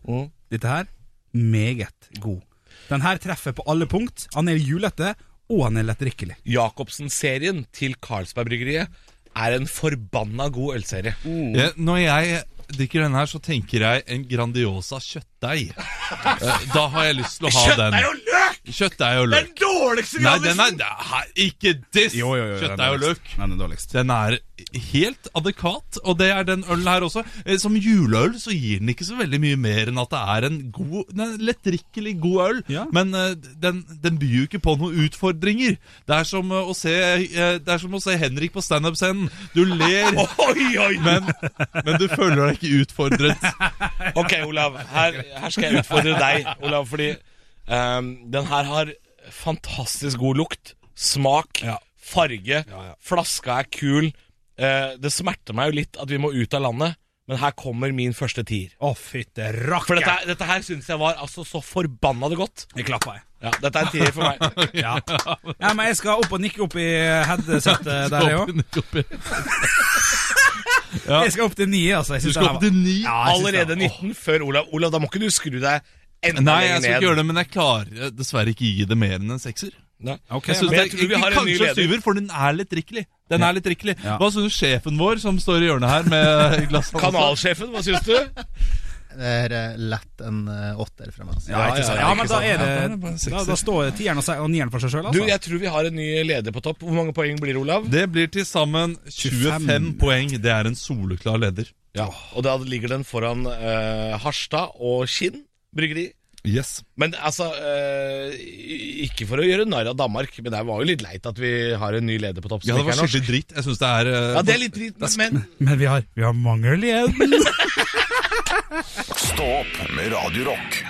Dette her, meget god. Den her treffer på alle punkt. Han er julete, og han er lettdrikkelig. Jacobsen-serien til Carlsberg-bryggeriet er en forbanna god ølserie. Ja, når jeg drikker den her, så tenker jeg en Grandiosa (laughs) kjøttdeig. Eh, da har jeg lyst til å ha den. og løk! Kjøttdeig og løk. dårligste Nei, den er, det er ikke diss! Kjøttdeig og løk. Den er dårligst. Den er helt adekvat, og det er den ølen her også. Eh, Som juleøl så gir den ikke så veldig mye mer enn at det er en god, den er lettdrikkelig god øl, Ja. men eh, den, den byr jo ikke på noen utfordringer. Det er som eh, å se, eh, det er som å se Henrik på standup-scenen. Du (laughs) ler, Oi, oi, men, men du føler deg ikke utfordret. Ok, Olav. Her, her skal jeg utfordre deg, Olav. Fordi ehm, den her har fantastisk god lukt, smak, farge. Flaska er kul. Eh, det smerter meg jo litt at vi må ut av landet, men her kommer min første tier. Å, fytte rakker! For dette, dette her syns jeg var altså så forbanna det godt. Jeg klapper, jeg. Ja, dette er en tier for meg. Ja. ja, men jeg skal opp og nikke opp i (laughs) headsetet (laughs) der, jeg òg. Jeg skal opp til ni, altså. Jeg Du synes skal det her opp var- til ni. Ja, jeg synes det Allerede 19 før Olav. Olav, da må ikke du skru deg enda Nei, jeg lenger skal ikke ned. gjøre det, men jeg klarer dessverre ikke gi det mer enn en sekser. Nei. Ok, Jeg synes men jeg det er tror vi har en ny kanskje leder. syver, for den er litt drikkelig. Den er litt drikkelig. Ja. (laughs) Hva syns sjefen vår, som står i hjørnet her med glass Kanalsjefen, hva syns du? Det er eh, lett en eh, åtter fra meg. altså. Ja, ikke sant? ja, ja, men da er Ja, da er det bare det seks, Eh, Da, da står tieren og se- og nieren for seg Du, sjøl, altså. jeg tror vi har en ny leder på topp. Hvor mange poeng blir det, Olav? Det blir til sammen 25 25. poeng. Det er en soleklar leder. Ja. Og da ligger den foran eh, Harstad og Kinn bryggeri. Yes. Men altså, eh, ikke for å gjøre narr av Danmark, men det var jo litt leit at vi har en ny leder på topp. som Ja, det ikke var er norsk. skikkelig dritt. Jeg synes det er eh, Ja, det er litt dritt, men Men vi har, vi har mangel igjen. Stå opp med Radio Rock.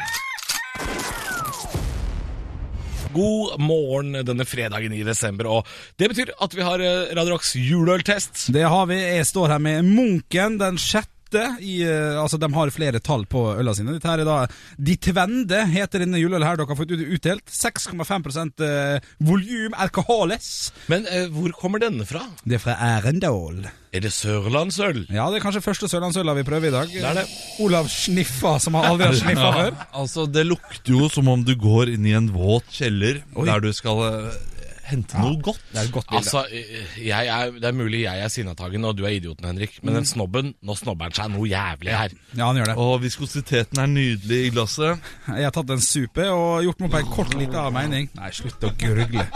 god morgen denne fredagen i desember. Og det betyr at vi har eh, Radio Rocks juleøltest. Det har vi. Jeg står her med Munken, den sjette. I, eh, altså, de har flere tall på øla sine. Dette her er da De Tvende heter denne juleølen her dere har fått ut- utdelt. 6,5 eh, volum alkoholes. Men eh, hvor kommer denne fra? Det er fra Arendal. Er det sørlandsøl? Ja, det er kanskje første sørlandsøla vi prøver i dag. er det. Olav sniffa, som har (laughs) aldri har sniffa Ja, før. altså, det lukter jo som om du går inn i en våt kjeller der du skal eh, hente noe godt. Det er et godt bilde. Altså, eh, jeg er, Det er mulig jeg er sinnatagen og du er idioten, Henrik, men den snobben Nå snobber han seg noe jævlig her. ja, han gjør det. Og viskositeten er nydelig i glasset. Jeg har tatt en supe og gjort meg opp en kort lita mening. Nei, slutt å gurgle.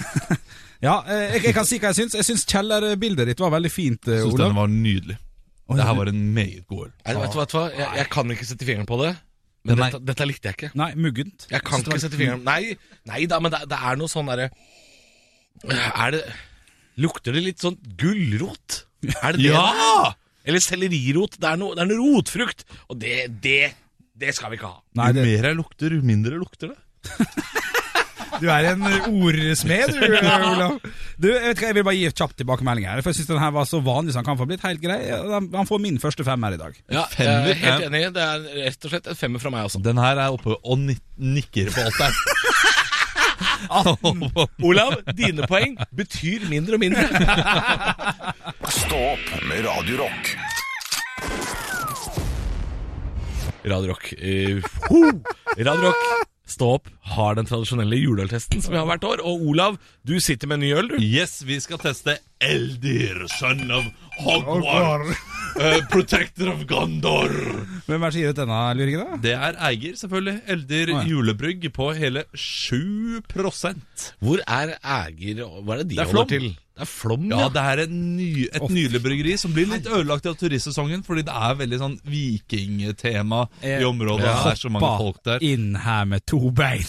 (laughs) ja, eh, jeg, jeg kan si hva jeg syns. Jeg syns kjellerbildet ditt var veldig fint, eh, Jeg synes Olav. denne var nydelig. Det her var en meget god øl. Er det- Vet du hva, vet du hva? Jeg, jeg kan ikke sette fingeren på det. Men Men nei. dette, dette likte jeg ikke. Nei, muggent. Jeg kan Synes det var- ikke sette fingeren Nei, nei da, men det, det er noe sånn derre Er det Lukter det litt sånn gulrot? Er det det? Ja! Eller sellerirot. Det er noe, det er noe rotfrukt. Og det, det, det skal vi ikke ha. Nei, jo det, mer jeg lukter, jo mindre lukter det. du er en eh, ordsmed, du, (laughs) eh, Olav. Du, jeg vet hva, jeg vil bare gi en kjapp tilbakemelding her. For jeg syns den her var så vanlig som han kan få blitt. Helt grei. Han han får min første femmer i dag. Ja, jeg femmer, er helt ja. enig. Det er rett og slett en femmer fra meg også. Den her er oppe og nik- nikker på alt der. Olav, dine poeng betyr mindre og mindre. Stå opp med Radio Rock. Radio Rock. eh, ho! Radio Rock, stå opp, har den tradisjonelle juleøltesten som vi har hvert år. Og Olav, du sitter med en ny øl, du. (laughs) Yes, vi skal teste Eldir, son of Hogwar, protector of Gondor. Hvem er det som gir ut denne lyringen, da? Det er eier, selvfølgelig. Eldir ja. julebrygg på hele 7 Hvor er Æger og- Hva er det de Det er holder Flom. til? Det er Flom, Ja, det er en ny, et nydelig bryggeri som blir litt ødelagt av turistsesongen, fordi det er veldig sånn vikingtema i området. Det er så mange Eh, Hoppa folk der. inn her med to bein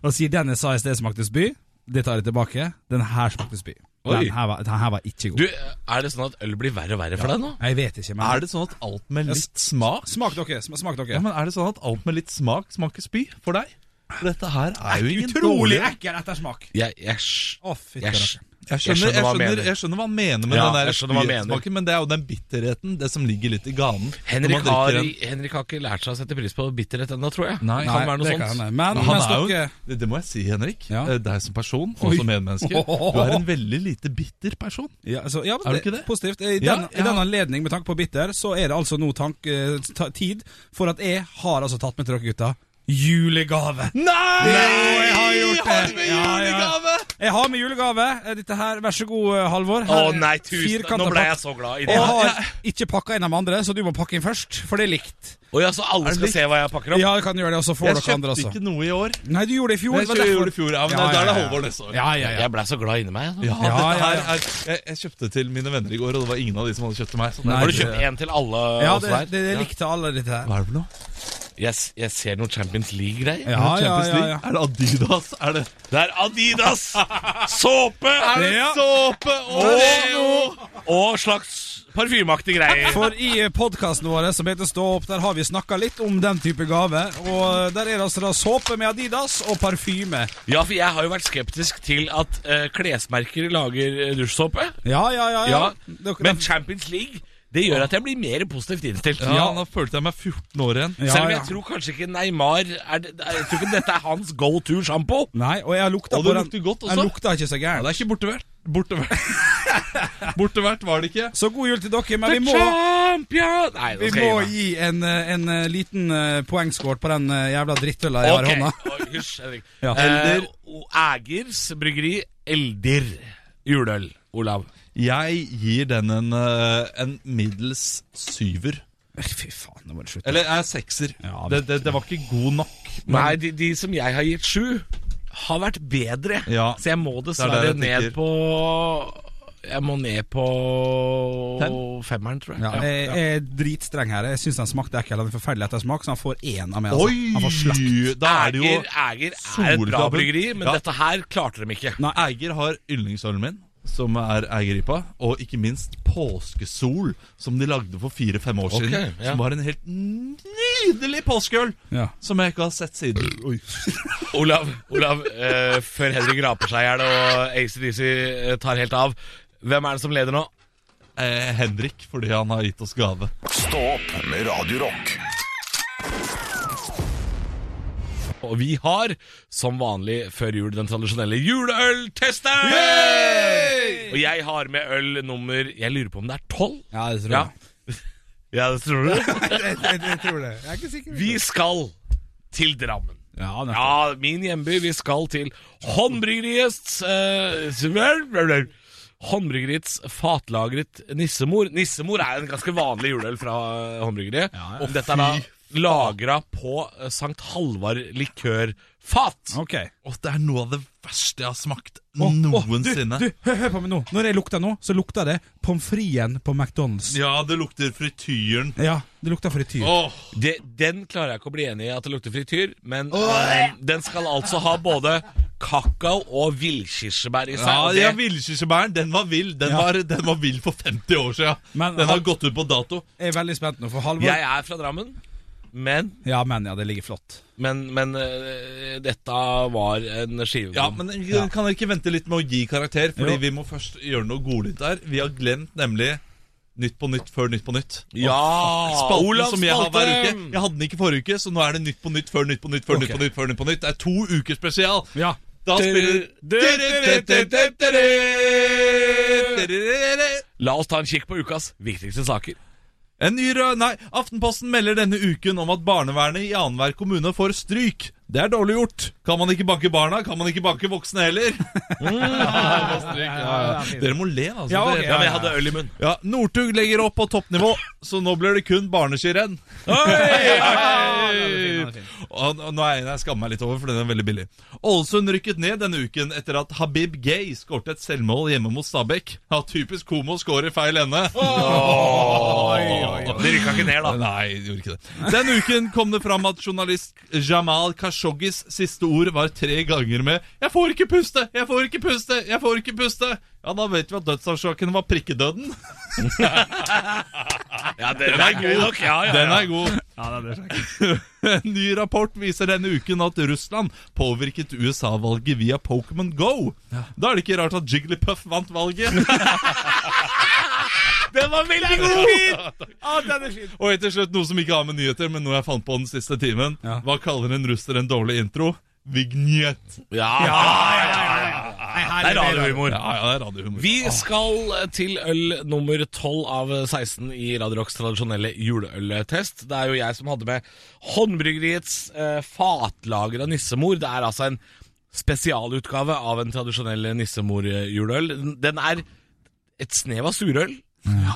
og sier den jeg sa i sted smakte spy. Det tar jeg tilbake. Den her smakte spy. Oi. Den her var, den her var ikke god. Du, er det sånn at øl blir verre og verre for deg nå? Jeg vet ikke, men Er det sånn at alt med litt smak Smak dere. sm- Smak dere. Ja, men er det sånn at alt med litt smak smaker spy for deg? For Dette her er jo ingen Utrolig dårlig ekkel ettersmak. Jeg, jeg, sj- Å, fytti jeg, rakkeren. sj- Jeg skjønner, jeg, hva han skjønner, mener. jeg skjønner hva han mener med Ja, den der jeg skjønner hva han mener. spyetsmaken, men det er jo den bitterheten, det som ligger litt i ganen. når man Henrik, drikker har, en- Henrik har ikke lært seg å sette pris på bitterhet ennå, tror jeg. Nei. det kan være noe det sånt. kan hende. Men han mens er jo, dere det, det må jeg si, Henrik. Ja. eh, Deg som person og som medmenneske. Du er en veldig lite bitter person. ja, altså, ja, men Er du ikke det? Positivt. I den, Ja, I den ja. anledning, med tanke på bitter, så er det altså nå tank, eh, ta, tid for at jeg har altså tatt med til dere gutta julegave. Nei! jeg har gjort Har det. du med Ja, ja. julegave? Jeg har med julegave. eh, Dette her, Vær så god, eh, Halvor. Å Her er nei, tusen takk. firkantet Nå ble pakke. jeg så glad i det. Jeg Å har ikke pakka inn de andre, så du må pakke inn først. For det er likt. ja, så alle skal se hva jeg pakker opp? Ja, du kan gjøre det, og så får Jeg dere andre kjøpte også. ikke noe i år. Nei, du gjorde det i fjor. Jeg det var kjøpte derfor. gjorde i fjor, ja, men Ja, da- da er det ja, ja. Håvard neste år. Ja, ja, ja. Jeg ble så glad inni meg. Ja, Altså. Ja, dette ja, her ja. er jeg, jeg kjøpte til mine venner i går, og det var ingen av de som hadde kjøpt til meg. Så det- Nei, Har du det- kjøpt en til alle Ja, oss det, der? det, det likte alle dette her. Hva er det for noe? Jeg, s- jeg ser noe Champions League-greier. Ja, ja, Champions ja, League? ja. Er det Adidas? Er det Det er Adidas, (laughs) såpe Er det Ja. såpe? Og- Oreo? og slags parfymeaktige greier. For i podkasten vår som heter Stå opp, der har vi snakka litt om den type gave. Og der er det altså da såpe med Adidas og parfyme. Ja, for jeg har jo vært skeptisk til at eh, klesmerker lager eh, dusjsåpe. Ja, ja, ja. ja. Ja, Dere- men Champions League det gjør at jeg blir mer positivt innstilt. Ja, nå følte jeg meg 14 år igjen. Ja, Selv om jeg ja. tror kanskje ikke Neymar er det, Jeg tror ikke dette er hans go to-sjampo. Nei, og jeg har lukta Og på det den. lukter godt også. Den lukta ikke så Ja, gærent. det er ikke bortevert. Bortevert, (laughs) bortevert var det ikke. Så god jul til dere, men vi må Champion! Nei, nå vi skal må jeg gi meg. gi en, eh, en eh, liten eh, poengscore på den eh, jævla drittøla jeg har i hånda. Ok, oi, Hysj, Henrik. Ja. Eh, og Ægers bryggeri Eldir juleøl. Olav. Jeg gir den en, eh, en middels syver. Fy faen, nå må du slutte. Eller jeg er sekser. Ja, det, det, det var ikke god nok. Nei, de, de som jeg har gitt sju, har vært bedre. Ja. Så jeg må Det dessverre er det jeg ned tenker. på Jeg må ned på Fem? femmeren, tror jeg. Ja, jeg, Ja. jeg er dritstreng her. Jeg syns den smakte ekkel. Den er forferdelig ettersmak, så han får én av meg. Altså. Han får slakt. Oi! Da er det jo Eiger, Eiger er et bra solklabben. bryggeri, men Ja. dette her klarte de ikke. Eiger har yndlingsølen min, som er Eigerripa, og ikke minst Påskesol, som de lagde for fire-fem år siden. ja. Som var en helt nydelig påskeøl, Ja. som jeg ikke har sett siden. Olav, Olav eh, før Henrik raper seg i hjel og ACDC eh, tar helt av, hvem er det som leder nå? (laughs) Eh, Henrik, fordi han har gitt oss gave. Stå opp med Radio Rock. Og vi har, som vanlig før jul, den tradisjonelle juleøltesten! Og jeg har med øl nummer Jeg lurer på om det er tolv? Ja, det tror Ja. jeg. ja, det tror du? Jeg, jeg, jeg tror det. Jeg er ikke sikker. (laughs) Vi skal til Drammen. Ja, nettopp. Ja, min hjemby. Vi skal til håndbryggeriets eh, svær- blær, blær. Håndbryggeriets fatlagret nissemor. Nissemor er en ganske vanlig juleøl fra eh, håndbryggeriet. Ja, ja. Og dette er da lagra på eh, Sankt Halvard likørfat. Ok. Og det er noe av det verste jeg har smakt Å, å, noensinne. Du, du hør, hør på meg nå. Når jeg lukter nå, så lukter det pommes fritesen på McDonald's. Ja. Ja, det lukter frityren. det lukter frityr. Åh, Det, den klarer jeg ikke å bli enig i at det lukter frityr, men eh, den skal altså ha både kakao og villkirsebær i seg. ja, og det- ja Villkirsebæren, den var vill. Den, Ja. var, den var vill for 50 år siden. Men- den har gått ut på dato. Jeg er veldig spent nå, for Halvor Jeg er fra Drammen, men Ja, men ja, det ligger flott. Men, men eh, dette var en skive Ja, men kan dere ikke vente litt med å gi karakter? Fordi Jo. vi må først gjøre noe godlytt der. Vi har glemt nemlig Nytt på nytt før Nytt på nytt. Og Ja, Spalten Olav som jeg har hver Spalte! uke. Jeg hadde den ikke forrige uke, så nå er det Nytt på nytt før Nytt på nytt før Nytt på nytt før Nytt på nytt. Det er to uker spesial. Ja. Da spiller La oss ta en kikk på ukas viktigste saker. En ny rød... Nei, Aftenposten melder denne uken om at barnevernet i annenhver kommune får stryk. Det er dårlig gjort. Kan man ikke banke barna, kan man ikke banke voksne heller. Dere må le, altså. Ja, ok, Ja, men Dere- jeg ja. hadde øl i munnen. Ja, Northug legger opp på toppnivå, så nå blir det kun barneskirenn. Og og nå er jeg en jeg skammer meg litt over, for den er veldig billig. Ålesund rykket ned denne uken etter at Habib Gay skårte et selvmål hjemme mot Stabæk. Ja, typisk homo skårer feil ende. Det rykka ikke ned, da. Nei, det gjorde ikke det. Den uken kom det fram at journalist Jamal Khashoggis siste ord var tre ganger med 'Jeg får ikke puste! Jeg får ikke puste! Jeg får ikke puste!' Ja, da vet vi at dødsårsaken var prikkedøden. Ja, Den er gøy nok. Ja, ja, Den ja. er god. (laughs) en ny rapport viser denne uken at Russland påvirket USA-valget via Pokémon Go. Da er det ikke rart at Jigglypuff vant valget. (laughs) Den var veldig god! Og helt til slutt noe som ikke har med nyheter, men noe jeg fant på den siste timen. Ja. Hva kaller en russer en dårlig intro? Vignett. Ja, ja, ja. Det er radiohumor. Ja, ja, det er radiohumor. Vi skal eh, til øl nummer 12 av 16 i Radio Rocks tradisjonelle juleøltest. Det er jo jeg som hadde med Håndbryggeriets eh, fatlagra nissemor. Det er altså en spesialutgave av en tradisjonell nissemor-juleøl. Den- Den er et snev av surøl,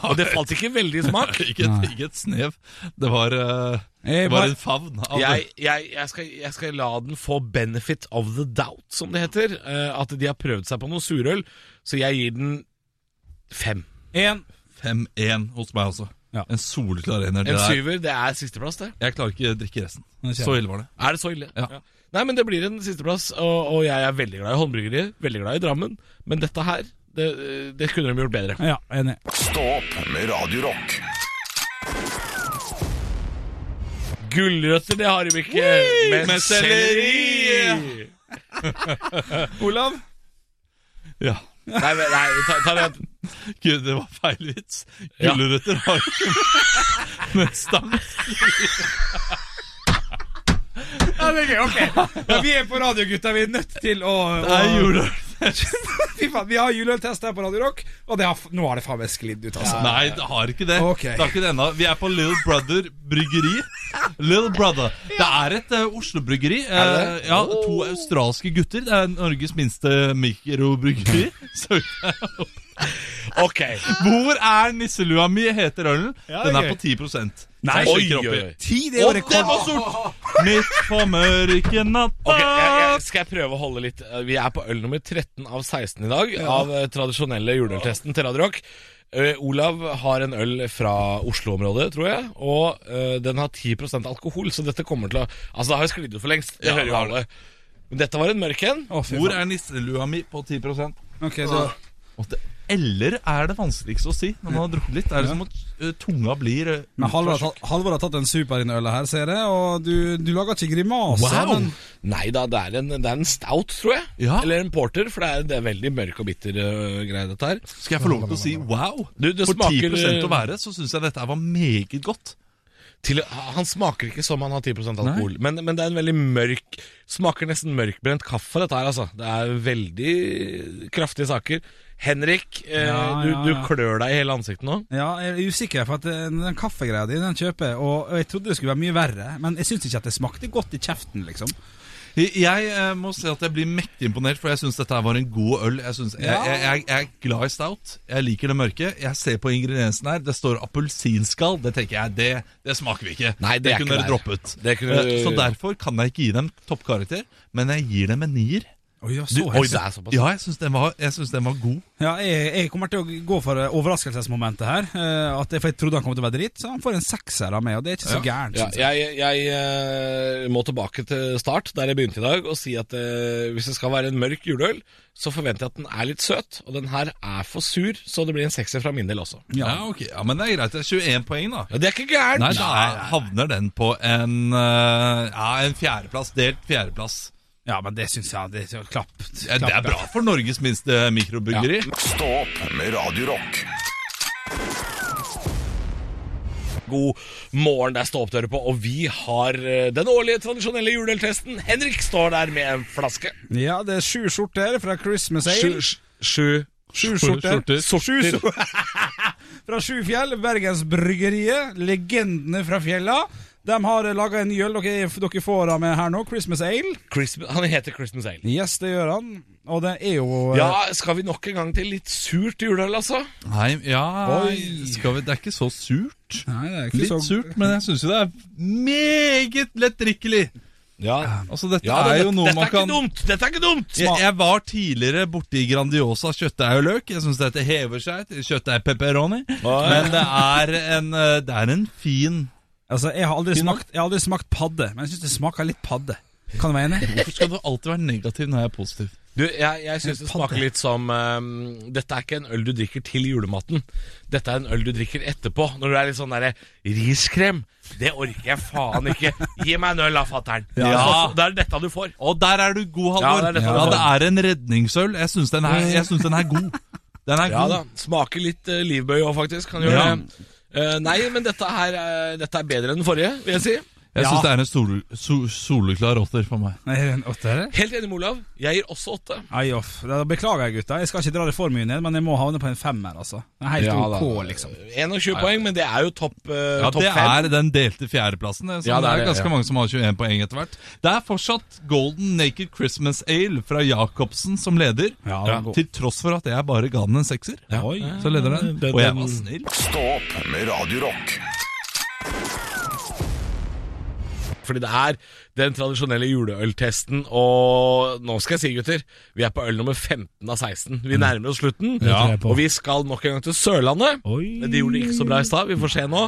og det falt ikke veldig i smak. (laughs) (laughs) Ikke et, ikke et snev. Det var, eh, Jeg det var bare- en favn. av Jeg, jeg, jeg, skal, jeg skal la den få benefit of the doubt, som det heter. Eh, at de har prøvd seg på noe surøl, så jeg gir den fem. En 5-1 hos meg også. Ja. En soleklar ener. Det En der- syver, det er sisteplass, det. Jeg klarer ikke å drikke resten. Nå kjenner Så ille var det. Er det så ille? Ja. Nei, men det blir en sisteplass, og, og jeg er veldig glad i håndbryggeriet, veldig glad i Drammen, men dette her, det, det kunne de gjort bedre. Ja, enig. Stå opp med Radio Rock. Gulrøtter, det har de ikke, men med selleri! Olav? Ja. Nei, men- nei, ta, ta det igjen. (laughs) Gud, det var feil vits. Ja. Gulrøtter har ikke (laughs) med stang. Ja, det er gøy, ok. Ja, vi er på radio, gutta. Vi er nødt til å, Nei, å gjorde Fy faen, vi har juleøltest her på Radio Rock, og det har, f- nå har det faen meg sklidd ut, altså. Nei, det har ikke det. Ok. Det har ikke det ennå. Vi er på Little Brother bryggeri. Little Brother. Det er et eh, Oslo-bryggeri. Eh, ja, Oh. (laughs) to australske gutter. Det er Norges minste mikrobryggeri. Så Ok. Hvor er nisselua mi? heter ølen. Ja, Den gøy. er på 10 Nei, Så jeg oi, sjekker opp i- oi, oi. Ti, det er jo Og det rekord. var stort! Midt på mørke natta Ok, jeg, jeg, skal jeg prøve å holde litt eh, Vi er på øl nummer 13 av 16 i dag, av eh, tradisjonelle juleøltesten til Radio Rock. Eh, Olav har en øl fra Oslo-området, tror jeg, og eh, den har 10 alkohol, så dette kommer til å Altså, det har jo sklidd ut for lengst. Det Ja, hører det jo har alle. Men dette var en mørk en. Å, fy Hvor faen. er nisselua mi på 10 Ok, så, Og det, Eller er det vanskeligste å si når man har drukket litt? Det er det som at ø, tunga blir eh, ø, men Halvor har, tatt- Halvor har tatt en super i den øla her, ser jeg, og du, du lager ikke grimaser. men- Nei da, det er, en, det er en stout, tror jeg. Ja. Eller en porter, for det er, det er veldig mørk og bitter eh, greie, dette her. Skal jeg få lov til å si wow? Du, det For smaker- øh, eh, 10 å være, så syns jeg dette her var meget godt. Til, han smaker ikke som han har 10 alkohol, men, men det er en veldig mørk Smaker nesten mørkbrent kaffe, dette her, altså. Det er veldig kraftige saker. Henrik, eh, Ja, ja, du, du ja. klør deg i hele ansiktet nå. Ja, jeg er usikker, for at eh, den, den kaffegreia di den kjøper jeg, og og jeg trodde det skulle være mye verre, men jeg syns ikke at det smakte godt i kjeften, liksom. Jeg, jeg ø, må si at jeg blir mektig imponert, for jeg syns dette her var en god øl. Jeg, synes, jeg, Ja. jeg, jeg, jeg er glad i stout. Jeg liker det mørke. Jeg ser på ingrediensene her. Det står appelsinskall. Det tenker jeg, det, det smaker vi ikke. Nei, det er ikke kunne dere der. droppet. Det kunne- Ø, Så derfor kan jeg ikke gi dem toppkarakter, men jeg gir dem en nier. Oi, ja, Du, så oi, høyt. det er såpass. Ja, jeg syns den, var- jeg synes den var god. Ja, jeg, jeg kommer til å gå for eh, overraskelsesmomentet her. eh, At jeg, for jeg trodde han kom til å være dritt, så han får en sekser av meg, og det er ikke så gærent. Ja, synes jeg. jeg jeg eh, må tilbake til start, der jeg begynte i dag, og si at eh, hvis det skal være en mørk juleøl, så forventer jeg at den er litt søt. Og den her er for sur, så det blir en sekser fra min del også. Ja. ok. Ja, Men det er greit. Det er 21 poeng, da. Ja, det er ikke gærent! Nei, da er, havner den på en eh, Ja, en fjerdeplass. Delt fjerdeplass. ja, men det syns jeg det, er- klapp, Ja, Det er klapp, bra for Norges minste mikrobryggeri. Stå opp med Radio Rock. God morgen, det er ståoppdører på, og vi har eh, den årlige tradisjonelle juleøltesten. Henrik står der med en flaske. Ja, det er sju skjorter fra Christmas Ale. Sju, sju, Sju skjorter. (laughs) skjorter. Sju so- fra Sju Fjell, Bergensbryggeriet. Legendene fra fjella. De har laga en ny øl dere, dere får av meg her nå. Christmas Ale. Christmas, han heter Christmas Ale. Yes, det gjør han. Og det er jo eh, Ja, skal vi nok en gang til litt surt juleøl, altså? Nei, ja Oi. skal vi, Det er ikke så surt. Nei, det er ikke Litt så surt, men jeg syns jo det er meget lettdrikkelig. Ja, Altså, dette ja er det, jo noe dette man er ikke kan dumt! Dette er ikke dumt! jeg, jeg var tidligere borti Grandiosa kjøttdeig og løk. Jeg syns dette hever seg til kjøttdeig pepperoni. Men det er en, eh, det er en fin Altså, jeg har aldri Kino? smakt, jeg har aldri smakt padde, men jeg syns det smaker litt padde. Kan du være (laughs) enig? Hvorfor skal du alltid være negativ når jeg er positiv? Du, jeg, jeg syns det smaker litt som ehm, Dette er ikke en øl du drikker til julematen. Dette er en øl du drikker etterpå, når du er litt sånn derre Riskrem! Det orker jeg faen ikke! Gi meg en øl, da, fatter'n! Ja. Det er dette du får. Og der er du god, Ja, Halvor. det er Ja, det, dette er, det var. en redningsøl. Jeg syns den, er- jeg synes den er god. Den er Ja god. da, smaker litt eh, livbøye òg, faktisk. Kan gjøre Ja. det. Eh, nei, men dette, her, eh, dette er bedre enn den forrige, vil jeg si. Jeg syns Ja. det er en sol, sol, soleklar åtter for meg. Er det en åtter? Helt enig med Olav. Jeg gir også åtte. Nei, off. Da Beklager jeg, gutta. Jeg skal ikke dra det for mye ned, men jeg må havne på en femmer, altså. Det er helt ok, liksom. 21 poeng, men det er jo topp uh, Ja, topp Det fem. er den delte fjerdeplassen. Så Ja, det det er er det, ganske ja. mange som har 21 poeng etter hvert. Det er fortsatt Golden Naked Christmas Ale fra Jacobsen som leder. Ja, den er god. Til tross for at jeg bare ga den en sekser. Oi. Så leder den. Den- Og jeg den- var snill. Stå opp med Radio Rock. Fordi det er den tradisjonelle juleøltesten. Og nå skal jeg si, gutter, vi er på øl nummer 15 av 16. Vi nærmer oss slutten. tror jeg på. Og vi skal nok en gang til Sørlandet. Oi. Men de gjorde det ikke så bra i stad. Vi får se nå.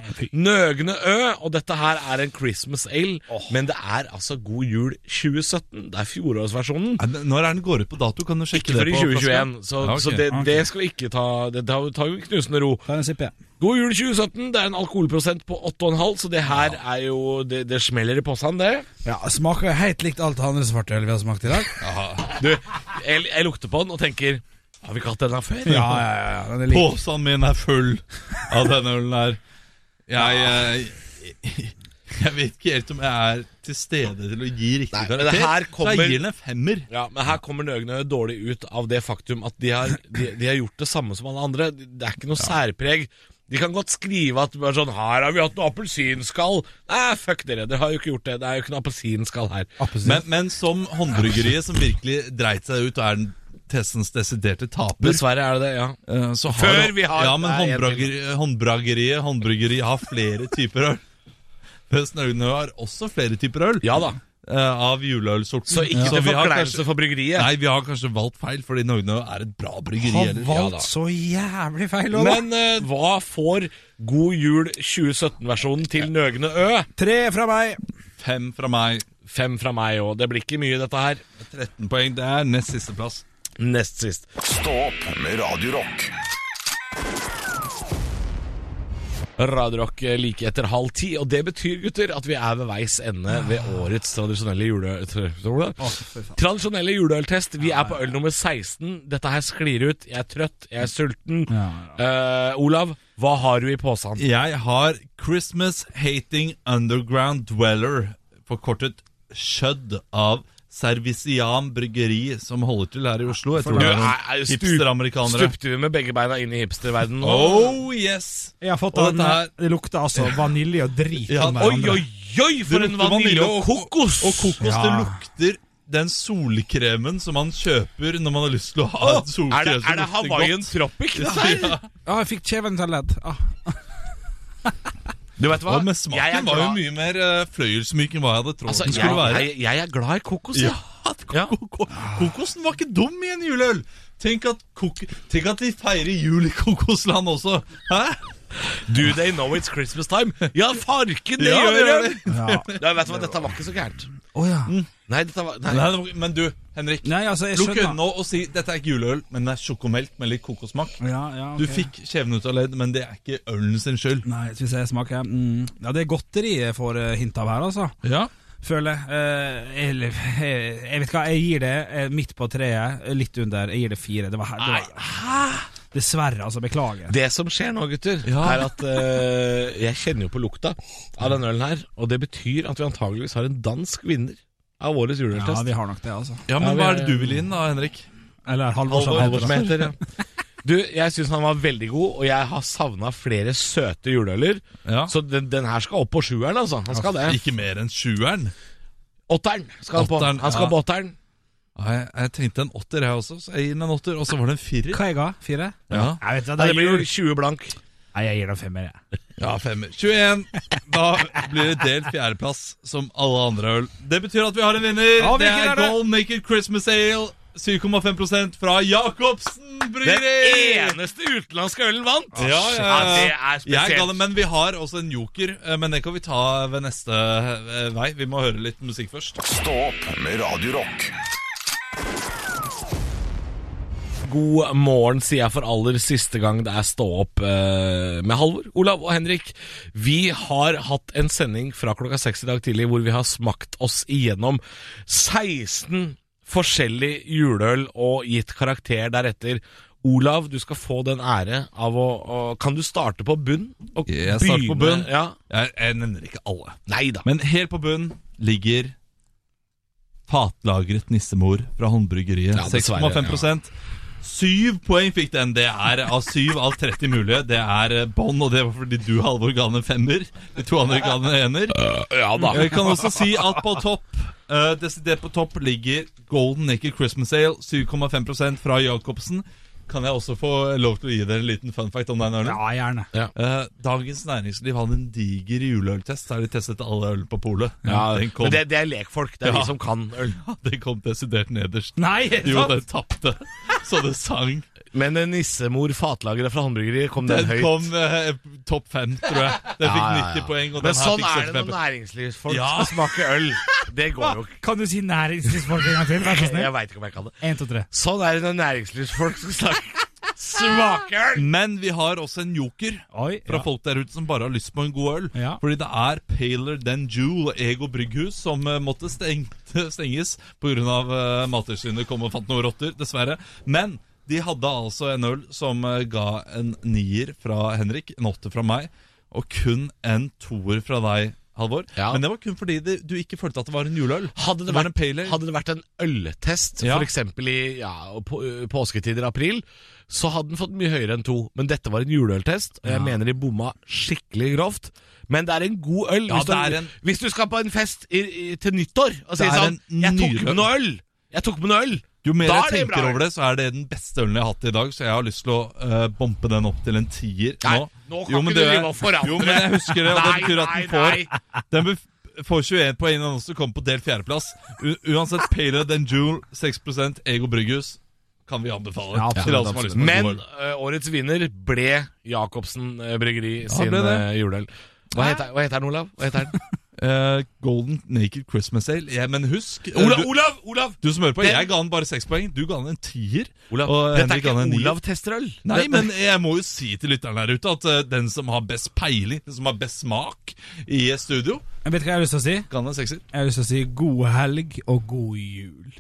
Nøgne Ø. Og dette her er en Christmas ale. Men det er altså God jul 2017. Det er fjorårsversjonen. Nei, men Når er den går ut på dato? Kan du sjekke Ikke før det i på 2021, flasken? så, Ja, ok. så det, det skal vi ikke ta Det tar tar jo en knusende ro. Ta en sipp, ja. God jul 2017. Det er en alkoholprosent på 8,5, så det her er jo Det, det smeller i posen, det. ja. Smaker helt likt alt andre svartøl vi har smakt i dag. Du, jeg, jeg lukter på den og tenker Har vi ikke hatt den her før? (laughs) Ja, ja, ja. ja. Den er lik. Posen min er full av denne ølen her. Jeg, eh, (laughs) jeg vet ikke helt om jeg er til stede til å gi Nei, riktig men karakter. det her Så kommer- jeg gir den en femmer. Ja, Men her kommer Nøgne dårlig ut av det faktum at de har, de, de har gjort det samme som alle andre. Det er ikke noe særpreg. De kan godt skrive at bare sånn, 'Her har vi hatt noe appelsinskall'. Nei, fuck dere, dere har jo ikke gjort det. Det er jo ikke noe appelsinskall her. Appelsin. Men, men som håndbryggeriet som virkelig dreit seg ut og er den testens desiderte taper. Dessverre er det det, ja. Eh, så Før vi har- Ja, men Nei, jeg- håndbrageri- håndbrageriet Håndbryggeriet har flere typer øl. Høsten Øgne har også flere typer øl Ja da. eh, av juleølsorten. Så ikke til vi har forkleinelse kanskje- for bryggeriet. Nei, vi har kanskje valgt feil, fordi Norge er et bra bryggeri. Har eller? valgt da. så jævlig feil låt! Men eh, hva får God jul 2017-versjonen til Nøgne Ø? Tre fra meg. Fem fra meg, Fem fra meg òg. Det blir ikke mye, dette her. 13 poeng. Det er nest siste plass. Nest sist. Stå opp med Radio Rock. Radio Rock eh, like etter halv ti. Og det betyr, gutter, at vi er ved veis ende ved årets tradisjonelle juleøl... Tradisjonelle juleøltest. Vi er på øl nummer 16. Dette her sklir ut. Jeg er trøtt, jeg er sulten. Eh, Olav, hva har du i posen? Jeg har Christmas Hating Underground Dweller, forkortet Skjødd av Serviciam Bryggeri, som holder til her i Oslo. Jeg tror det er noen stup- hipsteramerikanere. Stupte vi med begge beina inn i hipsterverdenen nå? Oh yes! Jeg har fått Og den. dette her- Det lukter altså vanilje og drit. Ja, om Oi, hverandre. oi, oi, for en lukter vanilje vanilje og og- kokos! Og kokos, det Ja. lukter den solkremen som man kjøper når man har lyst til å ha en solkrem Er det, som er det lukter Hawaiian Tropic? Altså, det her? godt. Ja. Ja, jeg fikk kjeven til å ledd. Ah. Du vet hva? Ja, Jeg men er smaken var jo glad- mye mer eh, fløyelsmyk enn hva jeg hadde trodd Altså, den skulle jeg, være. jeg, jeg er glad i kokos, Ja, ja. at ko- ko- ko- Kokosen var ikke dum i en juleøl! Tenk at, kok tenk at de feirer jul i kokosland også! Hæ? Do they know it's Christmas time? Ja, farken, det Ja, det gjør gjør det! Ja, vet du hva, dette var ikke så gærent. Å ja. Nei, dette var nei. Nei, det var- men du, Henrik. Nei, altså, jeg Lukk skjønner. øynene og si dette er ikke juleøl, men det er sjokomelk med litt kokossmak. Ja, ja, Du ok. fikk kjeven ut av ledd, men det er ikke ølen sin skyld. Nei, skal vi se, jeg smaker mm. Ja, det er godteri jeg får eh, hint av her, altså. Ja. Føler jeg. Eh, eller jeg, jeg vet hva, jeg gir det eh, midt på treet, eh, litt under. Jeg gir det fire. Det var her. Det var, dessverre, altså. Beklager. Det som skjer nå, gutter, er at eh, jeg kjenner jo på lukta av denne ølen her, og det betyr at vi antageligvis har en dansk vinner av årets Ja, juleøltest. vi har nok det, altså. ja, men Ja, vi hva er- er det du vil inn da, Henrik? Eller Halvorsen. Halvor som heter det. Du, jeg syns han var veldig god, og jeg har savna flere søte juleøler. Ja. Så den, den her skal opp på sjueren, altså. Han skal det. Ikke mer enn sjueren. Åtteren skal han på. Åtteren, Han skal ja. på åtteren. Ja, jeg, jeg tenkte en åtter, jeg også, så jeg gir den en åtter. Og så var det en firer. Hva jeg ga? Fire? Ja, Jeg vet, Nei, det blir jo 20 blank. Nei, jeg gir den femmer, jeg. ja femmer. 21. Da blir det delt fjerdeplass, som alle andre øl. Det betyr at vi har en vinner. Ja, det hvilken er er det? Gold Naked Christmas Ale. 7,5 fra Jacobsen Den Bryggeri. eneste utenlandske ølen vant! Ja, ja, ja. det er Jeg ga den, spesielt. men vi har også en joker, eh, men den kan vi ta ved neste eh, vei. Vi må høre litt musikk først. Stå opp med Radio Rock. God morgen, sier jeg for aller siste gang. Det er Stå opp eh, med Halvor, Olav og Henrik. Vi har hatt en sending fra klokka seks i dag tidlig hvor vi har smakt oss igjennom 16 forskjellig juleøl og gitt karakter deretter. Olav, du skal få den ære av å, å Kan du starte på bunn? Og Jeg starter på bunn. Ja. Jeg, jeg nevner ikke alle. Nei da. Men helt på bunnen ligger fatlagret nissemor fra håndbryggeriet. Ja, dessverre, 6,5 Syv poeng fikk den. Det er av syv av 30 mulige. Det er eh, bånn, og det var fordi du, Halvor, ga den en femmer. De to andre ga den en ener. Ja da. Jeg kan også si at på topp, eh, desidert på topp, ligger Golden Naked Christmas Ale, 7,5 fra Jacobsen. Kan jeg også få lov til å gi dere en liten fun fact om den ølen? Ja, gjerne. Eh, Dagens Næringsliv hadde en diger juleøltest. Der de testet alle øl på polet. Ja, (laughs) den, kom, Men det, det er lekfolk. Det er Ja. de som kan øl. (laughs) den kom desidert nederst. Nei, er det Jo, sant? den tapte, så det (laughs) sang. Men eh, nissemor fatlagere fra håndbryggeriet, kom den, Den høyt? kom eh, topp fem, tror jeg. Den fikk 90 poeng. Og Men den her sånn fikk er det når 65. næringslivsfolk Ja. skal smake øl. Det går (laughs) jo ikke. Kan du si næringslivsfolk en gang til? Vær så snill. Jeg veit ikke om jeg kan det. Én, to, tre. Sånn er det når næringslivsfolk skal (laughs) snakke smake øl! Men vi har også en joker Oi. fra ja. folk der ute som bare har lyst på en god øl. Ja. Fordi det er Paler Than Jewel og Ego Brygghus som eh, måtte stengt, (laughs) stenges pga. Uh, Mattilsynet kom og fant noen rotter, dessverre. Men de hadde altså en øl som eh, ga en nier fra Henrik, en åtter fra meg, og kun en toer fra deg. Halvor. Ja. Men det var kun fordi det, du ikke følte at det var en juleøl. Hadde det, var en vært, pale ale. hadde det vært en øltest, Ja. for eksempel i ja, på, påsketider april, så hadde den fått mye høyere enn to. Men dette var en juleøltest, og jeg mener de bomma skikkelig grovt. Men det er en god øl. Ja, hvis, det du, er en- hvis du skal på en fest i, i, til nyttår og si Det er sånn 'Jeg en tok nydelig med noe øl!' Jeg tok med noe øl Jo mer Da jeg er det tenker bra. over det, så er det den beste ølen jeg har hatt i dag. Så jeg har lyst til å eh, bompe den opp til en tier Nei, nå. nå kan Jo, ikke men du det- drive og forandre. Jo, men jeg husker det, og det Nei, betyr nei, at den får Den bef- får 21 poeng og også kommer på delt fjerdeplass. U uansett, Paler than Jewel, 6 Ego Brygghus kan vi anbefale. Ja, absolutt, til alle som har lyst på Men god øl. eh, årets vinner ble Jacobsen eh, Bryggeri sin ble det. eh, juleøl. Hva heter, hva heter den, Olav? Hva heter (laughs) den? Eh, Golden Naked Christmas Ale. Ja, men husk eh, Olav! du- Olav! Olav! Du som hører på, Den- jeg ga den bare seks poeng. Du ga den en tier. Olav. og Dette Henrik er ikke ga den en nier. Olav Testerøl. Nei, men jeg må jo si til lytteren her ute at eh, den som har best peiling, den som har best smak i studio, Jeg vet hva jeg har lyst til å si. kan en sekser. Jeg har lyst til å si god helg og god (laughs) jul.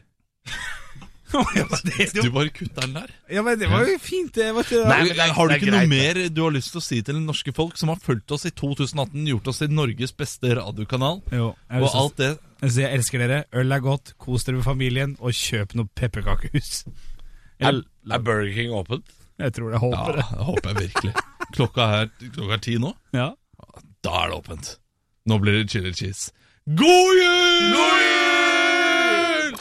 ja, men det, Du bare kutter den der. Eh, ja, men det var jo fint, det. Var ikke det? Nei, men det er- har du det er ikke noe greit, mer du har lyst til å si til det norske folk som har fulgt oss i 2018, gjort oss til Norges beste radiokanal, Jo, jeg, har lyst og til å si- alt det jeg, vil si, jeg elsker dere, øl er godt, kos dere med familien, og kjøp noe pepperkakehus. Er, er Burger King åpent? Jeg tror det, jeg Ja, håper det. det håper jeg virkelig. Klokka er, klokka er ti nå. Ja. Da er det åpent. Nå blir det chili cheese. God jul! God jul!